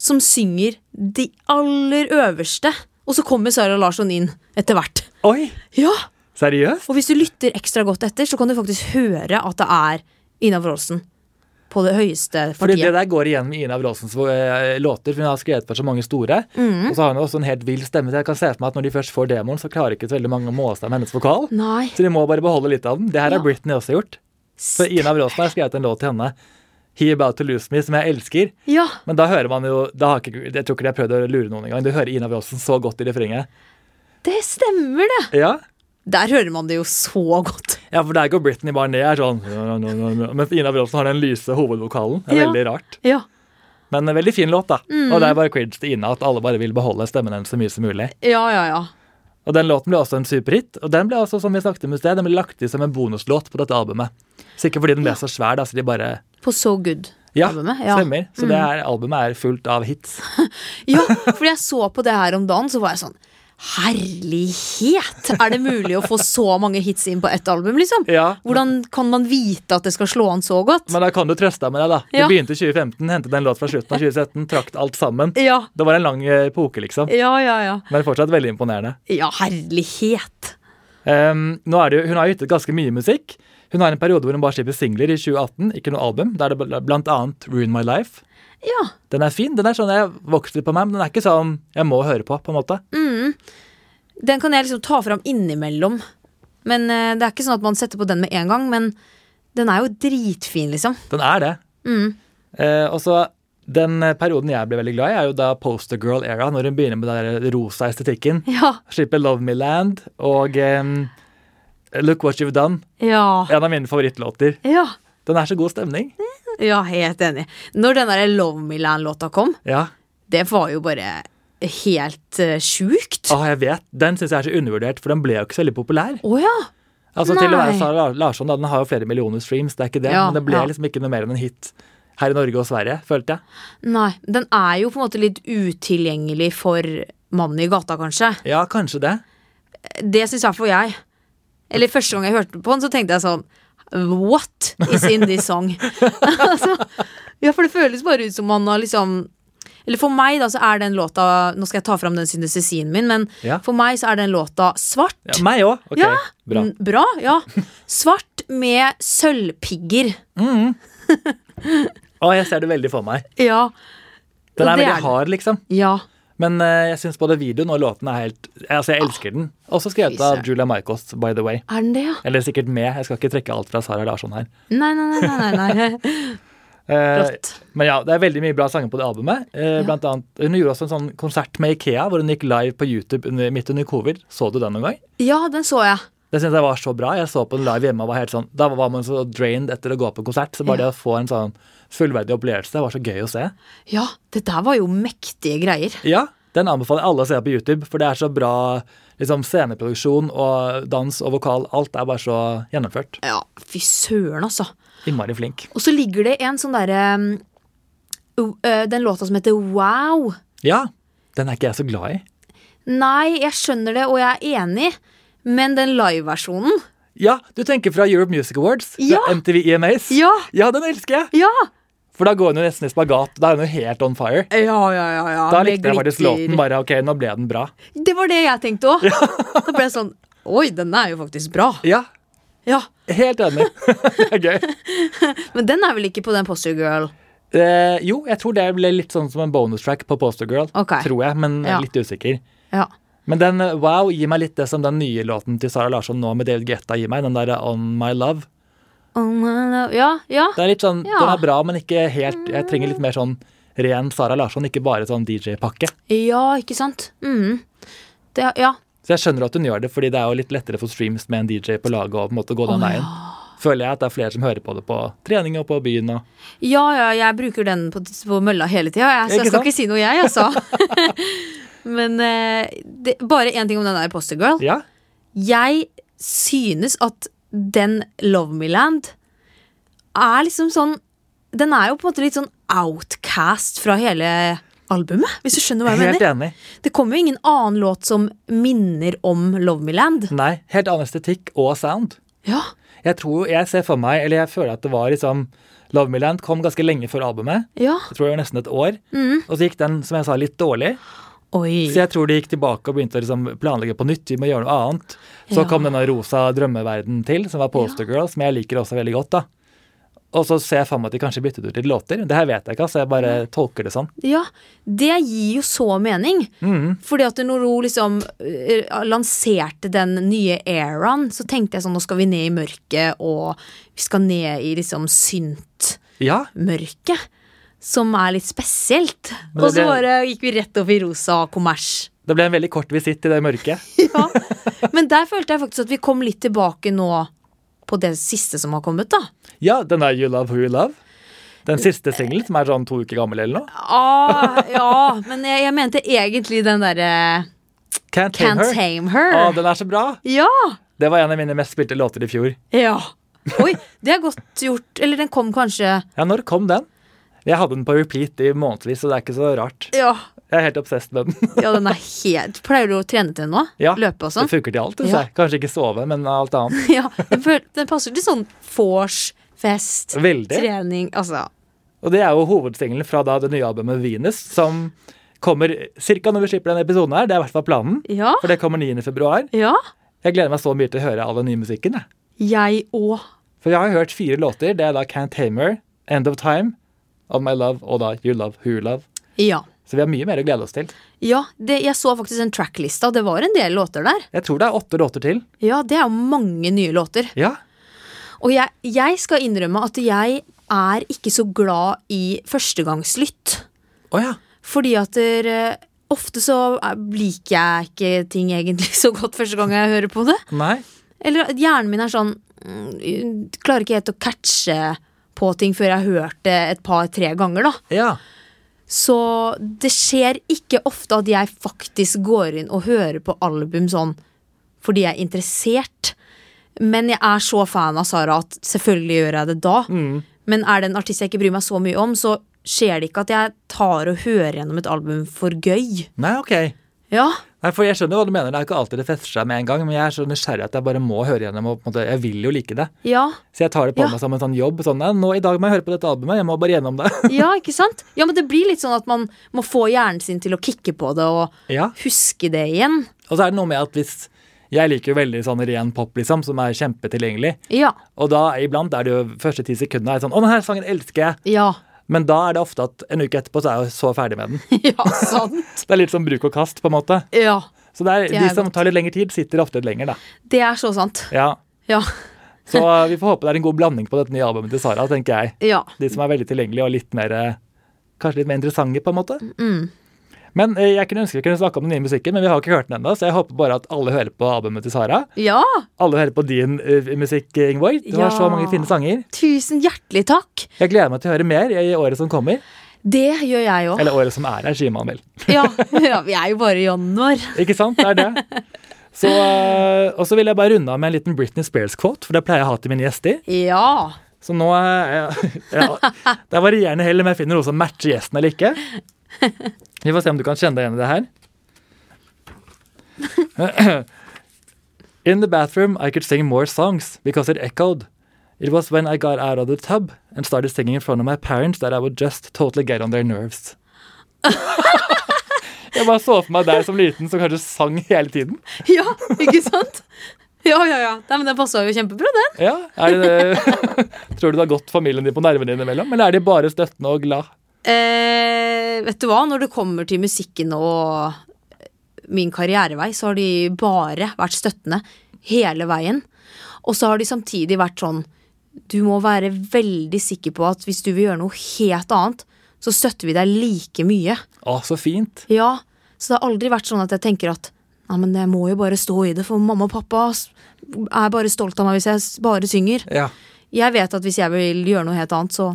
S2: som synger de aller øverste. Og så kommer Sara Larsson inn etter hvert.
S1: Oi,
S2: Ja,
S1: seriøst?
S2: Og hvis du lytter ekstra godt etter, så kan du faktisk høre at det er Ina Wroldsen på det høyeste
S1: Fordi det
S2: partiet.
S1: der går igjen med Ina Wroldsens eh, låter, for hun har skrevet for så mange store.
S2: Mm.
S1: Og så har hun også en helt vill stemme. Så jeg kan se for meg at når de først får demoen, så klarer ikke så veldig mange å måle seg med hennes vokal.
S2: Nei.
S1: Så de må bare beholde litt av den. Det her
S2: Ja.
S1: har Britney også gjort. For Ina Bråsberg skrev en låt til henne, 'He About To Lose Me', som jeg elsker.
S3: Ja,
S1: Men da hører man jo da har ikke, Jeg tror ikke de har prøvd å lure noen engang. Du hører Ina Bråsen så godt i refrenget.
S3: det stemmer, det.
S1: Ja.
S2: Der hører man det jo så godt.
S1: ja, for der går Britney bare ned. Er sånn, mens Ina Bråsen har den lyse hovedvokalen. Det er
S2: Ja. Mm.
S1: Veldig rart.
S2: Ja.
S1: Men en veldig fin låt, da. Og det er bare cringe til Ina at alle bare vil beholde stemmen hennes så mye som mulig.
S2: Ja, ja, ja.
S1: Og den låten ble også en superhit. Og den ble også, som vi snakket om i sted, den ble lagt i som en bonuslåt på dette albumet. Sikkert fordi den ble så svær, da, så de bare
S2: På So Good.
S1: Ja,
S2: Albumet, ja. Mm.
S1: stemmer. Så det her albumet er fullt av hits.
S2: Ja, fordi jeg så på det her om dagen, så var jeg sånn Herlighet! Er det mulig å få så mange hits inn på ett album, liksom?
S1: Ja.
S2: Hvordan kan man vite at det skal slå an så godt?
S1: Men da kan du trøste deg med det, da. Du
S2: Ja.
S1: begynte i 2015, hentet en låt fra slutten av 2017, trakt alt sammen.
S2: Ja,
S1: Det var en lang eh, epoke, liksom.
S2: ja, ja. Ja,
S1: Men fortsatt veldig imponerende.
S2: ja herlighet!
S1: Ehm, nå er det jo, hun har jo gitt ut ganske mye musikk. Hun har en periode hvor hun bare slipper singler i 2018, ikke noe album. Da er det bl- blant annet Ruin My Life.
S2: Ja.
S1: Den er fin. Den er sånn jeg vokste litt på meg, men den er ikke sånn jeg må høre på, på en måte.
S2: Mm. Den kan jeg liksom ta fram innimellom. Men eh, det er ikke sånn at man setter på den med en gang, men den er jo dritfin, liksom.
S1: Den er det.
S2: Mm.
S1: Eh, og så Den eh, perioden jeg ble veldig glad i, er jo da postergirl era, når hun begynner med den der rosa estetikken.
S2: Ja,
S1: Skipper Love Me Land og ehm, Look What You've Done.
S2: ja,
S1: En av mine favorittlåter.
S2: ja.
S1: Den er så god stemning.
S2: Ja, helt enig. Når den der Love Me Land-låta kom,
S1: Ja,
S2: det var jo bare helt eh, sjukt. Å
S1: ah, jeg vet. Den syns jeg er så undervurdert, for den ble jo ikke så veldig populær.
S2: ja.
S1: Altså til å
S2: Nei.
S1: være Sara Lar- Larsson, da, Den har jo flere millioner streams, det er ikke det.
S2: Ja,
S1: men det ble
S2: ja.
S1: liksom ikke noe mer enn en hit her i Norge og Sverige, følte jeg.
S2: Nei, den er jo på en måte litt utilgjengelig for mannen i gata, kanskje.
S1: Ja, kanskje det.
S2: Det syns i hvert fall jeg. Eller første gang jeg hørte på den, så tenkte jeg sånn What is in this song? altså, ja, for det føles bare ut som man har liksom Eller for meg, da, så er den låta Nå skal jeg ta fram den synesesien min, men
S1: Ja.
S2: for meg så er den låta svart.
S1: Ja, meg òg. Ok,
S2: Ja. Mm.
S1: bra.
S2: N- Bra, ja. Svart med sølvpigger.
S1: Å, jeg ser det veldig for meg.
S2: Ja.
S1: Den
S2: Og
S1: er veldig
S2: det er den.
S1: hard, liksom.
S2: Ja.
S1: Men eh, jeg syns både videoen og låten er helt Altså, jeg elsker den. Også skrevet
S2: Ah. fy
S1: av
S2: søren.
S1: Julia Michaels, by the way.
S2: Er den det, ja?
S1: Eller sikkert med. Jeg skal ikke trekke alt fra Sara Larsson her.
S2: Nei, nei, nei. nei, nei, nei.
S1: Eh,
S2: Flott.
S1: men ja, det er veldig mye bra sanger på det albumet. Eh,
S2: Ja.
S1: Blant annet, hun gjorde også en sånn konsert med Ikea, hvor hun gikk live på YouTube under, midt under covid. Så du den noen gang?
S2: Ja, den så jeg.
S1: Det syns jeg var så bra. Jeg så på den live hjemme og var helt sånn Da var man så drained etter å gå på konsert. Så bare det å få en sånn fullverdig opplevelse var så gøy å se.
S2: Ja, det der var jo mektige greier.
S1: Ja, den anbefaler alle å se på YouTube, for det er så bra liksom, sceneproduksjon og dans og vokal. Alt er bare så gjennomført.
S2: Ja, fy søren, altså.
S1: Innmari flink.
S2: Og så ligger det en sånn derre um, o- ø, Den låta som heter Wow.
S1: Ja, den er ikke jeg så glad i.
S2: Nei, jeg skjønner det, og jeg er enig, men den liveversjonen
S1: Ja, du tenker fra Europe Music Awards, fra
S2: Ja.
S1: MTV EMAs.
S2: Ja!
S1: Ja, den elsker jeg!
S2: Ja!
S1: For da går hun jo nesten i spagat. Da er hun jo helt on fire.
S2: Ja, ja, ja. ja.
S1: Da
S2: med
S1: likte jeg faktisk
S2: glitter.
S1: låten bare. Ok, nå ble den bra.
S2: Det var det jeg tenkte òg. Da ble jeg sånn Oi, den er jo faktisk bra.
S1: Ja,
S2: Ja,
S1: helt enig. det er gøy.
S2: Men den er vel ikke på den Poster Girl?
S1: Eh, jo, jeg tror det ble litt sånn som en bonustrack på Poster Girl.
S2: Ok.
S1: Tror jeg, men jeg
S2: Ja.
S1: er litt usikker.
S2: Ja.
S1: Men den eh, Wow gir meg litt det som den nye låten til Sara Larsson nå med David Guetta gir meg. Den der eh, On My Love.
S2: Oh, my love. ja, ja.
S1: Det er litt sånn,
S2: Ja.
S1: Den er bra, men ikke helt Jeg trenger litt mer sånn ren Sara Larsson, ikke bare sånn DJ-pakke.
S2: Ja, ikke sant? Mhm. Det, ja.
S1: Så jeg skjønner at hun gjør det, fordi det er jo litt lettere for streams med en DJ på laget og på en måte gå den
S2: Å,
S1: veien. Føler jeg at det er flere som hører på det på trening og på byen og
S2: ja, ja, jeg bruker den på, på mølla hele tida, jeg,
S1: Ikke
S2: så jeg skal
S1: sant?
S2: ikke si noe, jeg, altså. Men eh, det, bare én ting om den der Poster Girl.
S1: Ja.
S2: Jeg synes at den Love Me Land er liksom sånn Den er jo på en måte litt sånn outcast fra hele albumet, hvis du skjønner hva jeg
S1: Helt
S2: mener.
S1: enig.
S2: Det kommer jo ingen annen låt som minner om Love Me Land.
S1: Nei, helt annen estetikk og sound.
S2: Ja.
S1: Jeg tror, jeg ser for meg, eller jeg føler at det var liksom Love Me Land kom ganske lenge før albumet.
S2: Ja.
S1: Jeg tror det var nesten et år.
S2: Mm.
S1: Og så gikk den, som jeg sa, litt dårlig.
S2: Oi.
S1: Så jeg tror de gikk tilbake og begynte å liksom planlegge på nytt. Vi må gjøre noe annet. Så
S2: Ja.
S1: kom denne rosa drømmeverden til, som var Poster Girl, som jeg liker også veldig godt. da. Og så ser jeg for meg at de kanskje byttet ut litt låter. Det her vet jeg ikke, altså. Jeg bare tolker det sånn.
S2: Ja, det gir jo så mening.
S1: Mm.
S2: Fordi at når hun liksom eh, lanserte den nye eraen, så tenkte jeg sånn nå skal vi ned i mørket, og vi skal ned i liksom synt-mørket.
S1: Ja,
S2: Som er litt spesielt.
S1: Men
S2: Og så
S1: det-
S2: bare gikk vi rett over i rosa kommers.
S1: det ble en veldig kort visitt i det mørket.
S2: Ja. Men der følte jeg faktisk at vi kom litt tilbake nå på det siste som har kommet, da.
S1: Ja, den der You Love Who You Love. Den siste singelen, som er sånn to uker gammel eller noe.
S2: Ah, ja, men jeg, jeg mente egentlig den derre
S1: Can't Tame Her.
S2: Can't
S1: Ah,
S2: tame
S1: Å,
S2: her.
S1: den er så bra!
S2: Ja.
S1: Det var en av mine mest spilte låter i fjor.
S2: ja. Oi, det er godt gjort. Eller den kom kanskje
S1: Ja, når kom den? Jeg hadde den på repeat i månedsvis, så det er ikke så rart.
S2: Ja,
S1: Jeg er helt obsessed med den.
S2: ja den er helt Pleier du å trene til den nå?
S1: Ja,
S2: Løpe og sånn?
S1: Det funker til alt. synes
S2: Ja.
S1: jeg. Kanskje ikke sove, men alt annet.
S2: Ja, den, føl- den passer til sånn vors, fest,
S1: Veldig.
S2: trening Altså,
S1: Og det er jo hovedsingelen fra da det nye albumet Venus, som kommer ca. når vi slipper denne episoden her. Det er i hvert fall planen.
S2: ja.
S1: For det kommer 9. februar.
S2: Ja.
S1: Jeg gleder meg så mye til å høre all den nye musikken. Jeg.
S2: Jeg òg.
S1: For jeg har hørt fire låter. Det er da Can't Tamer, End of Time, On My Love og da You Love Who You Love.
S2: Ja.
S1: Så vi har mye mer å glede oss til.
S2: Ja, det, jeg så faktisk en tracklista, og det var en del låter der.
S1: Jeg tror det er åtte låter til.
S2: Ja, det er jo mange nye låter.
S1: Ja.
S2: Og jeg, jeg skal innrømme at jeg er ikke så glad i førstegangslytt.
S1: Å ja.
S2: Fordi at der, eh, ofte så eh, liker jeg ikke ting egentlig så godt første gang jeg hører på det.
S1: Nei.
S2: Eller at hjernen min er sånn mm, Klarer ikke helt å catche på ting før jeg har hørt det et par-tre ganger, da.
S1: Ja.
S2: Så det skjer ikke ofte at jeg faktisk går inn og hører på album sånn fordi jeg er interessert. Men jeg er så fan av Sara at selvfølgelig gjør jeg det da. Men er det en artist jeg ikke bryr meg så mye om, så skjer det ikke at jeg tar og hører gjennom et album for gøy.
S1: Nei, OK.
S2: Ja,
S1: Nei, for Jeg skjønner hva du mener, det er ikke alltid det fester seg med en gang, men jeg er så nysgjerrig at jeg bare må høre gjennom. og på en måte, Jeg vil jo like det.
S2: ja,
S1: Så jeg tar det på
S2: Ja.
S1: meg som en sånn jobb. sånn, «Nei, nå I dag må jeg høre på dette albumet, jeg må bare gjennom det.
S2: ja, ikke sant? Ja, men det blir litt sånn at man må få hjernen sin til å kikke på det og
S1: ja.
S2: huske det igjen.
S1: Og så er det noe med at hvis Jeg liker jo veldig sånn ren pop, liksom, som er kjempetilgjengelig.
S2: Ja,
S1: Og da iblant er det jo første ti sekundene er sånn 'Å, denne sangen elsker jeg',
S2: ja,
S1: men da er det ofte at en uke etterpå så er jeg jo så ferdig med den.
S2: ja, sant.
S1: Det er litt sånn bruk og kast, på en måte.
S2: Ja,
S1: Så det er,
S2: Det er
S1: de som tar litt lengre tid, sitter ofte lenger, da.
S2: det er så sant.
S1: Ja.
S2: Ja,
S1: Så eh, vi får håpe det er en god blanding på dette nye albumet til Sara, tenker jeg.
S2: ja.
S1: De som er veldig tilgjengelige og litt mer eh, Kanskje litt mer interessante, på en måte.
S2: Mm.
S1: Men eh, Jeg kunne ønske vi kunne snakke om den nye musikken, men vi har ikke hørt den ennå, så jeg håper bare at alle hører på albumet til Sara.
S2: Ja,
S1: Alle hører på din eh, musikk, Ingeborg. Du har
S2: Ja.
S1: så mange fine sanger.
S2: tusen hjertelig takk.
S1: Jeg gleder meg til å høre mer i året som kommer.
S2: Det gjør jeg òg.
S1: Eller året som er her, sier man vel.
S2: Ja, ja, vi er jo bare i januar.
S1: Ikke sant? Det er det. Så, eh, og så vil jeg bare runde av med en liten Britney Spears-quote, for det pleier jeg å ha til mine gjester.
S2: Ja.
S1: Så nå eh, ja, Det er varierende hell om jeg finner noe som matcher gjesten eller ikke. Vi får se om du kan kjenne deg igjen i det her. In the bathroom I could sing more songs because it echoed. It was when I got out of the tub and started singing in front of my parents that I would just totally get on their nerves. Jeg bare så for meg deg som liten som kanskje sang hele tiden.
S2: Ja, ikke sant? Ja, ja, ja. Nei, men den passa jo kjempebra, den.
S1: Ja, er det, Tror du det har gått familien din på nervene innimellom, eller er de bare støttende og glad?
S2: Eh, vet du hva, når det kommer til musikken og min karrierevei, så har de bare vært støttende hele veien. Og så har de samtidig vært sånn Du må være veldig sikker på at hvis du vil gjøre noe helt annet, så støtter vi deg like mye.
S1: Å, så fint.
S2: Ja, så det har aldri vært sånn at jeg tenker at Nei, men jeg må jo bare stå i det, for mamma og pappa s- er bare stolt av meg hvis jeg s- bare synger.
S1: Ja.
S2: Jeg vet at hvis jeg vil gjøre noe helt annet, så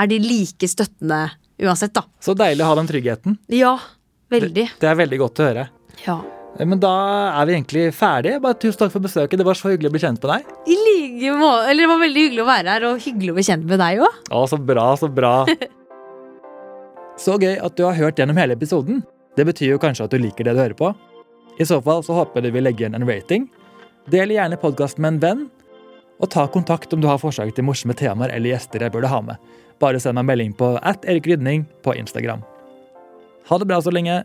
S2: er de like støttende uansett, da.
S1: Så deilig å ha den tryggheten.
S2: Ja, veldig.
S1: Det er veldig godt å høre. Eh,
S2: Ja.
S1: Men da er vi egentlig ferdige. Bare tusen takk for besøket. Det var så hyggelig å bli kjent med deg.
S2: I like måte. Eller det var veldig hyggelig å være her, og hyggelig å bli kjent med deg òg.
S1: Å, så bra, så bra. så gøy at du har hørt gjennom hele episoden. Det betyr jo kanskje at du liker det du hører på. I så fall så håper jeg du vil legge igjen en rating. Del gjerne podkasten med en venn. Og ta kontakt om du har forslag til morsomme temaer eller gjester jeg burde ha med. Bare send meg en melding på at Erik Rydning på Instagram. Ha det bra så lenge.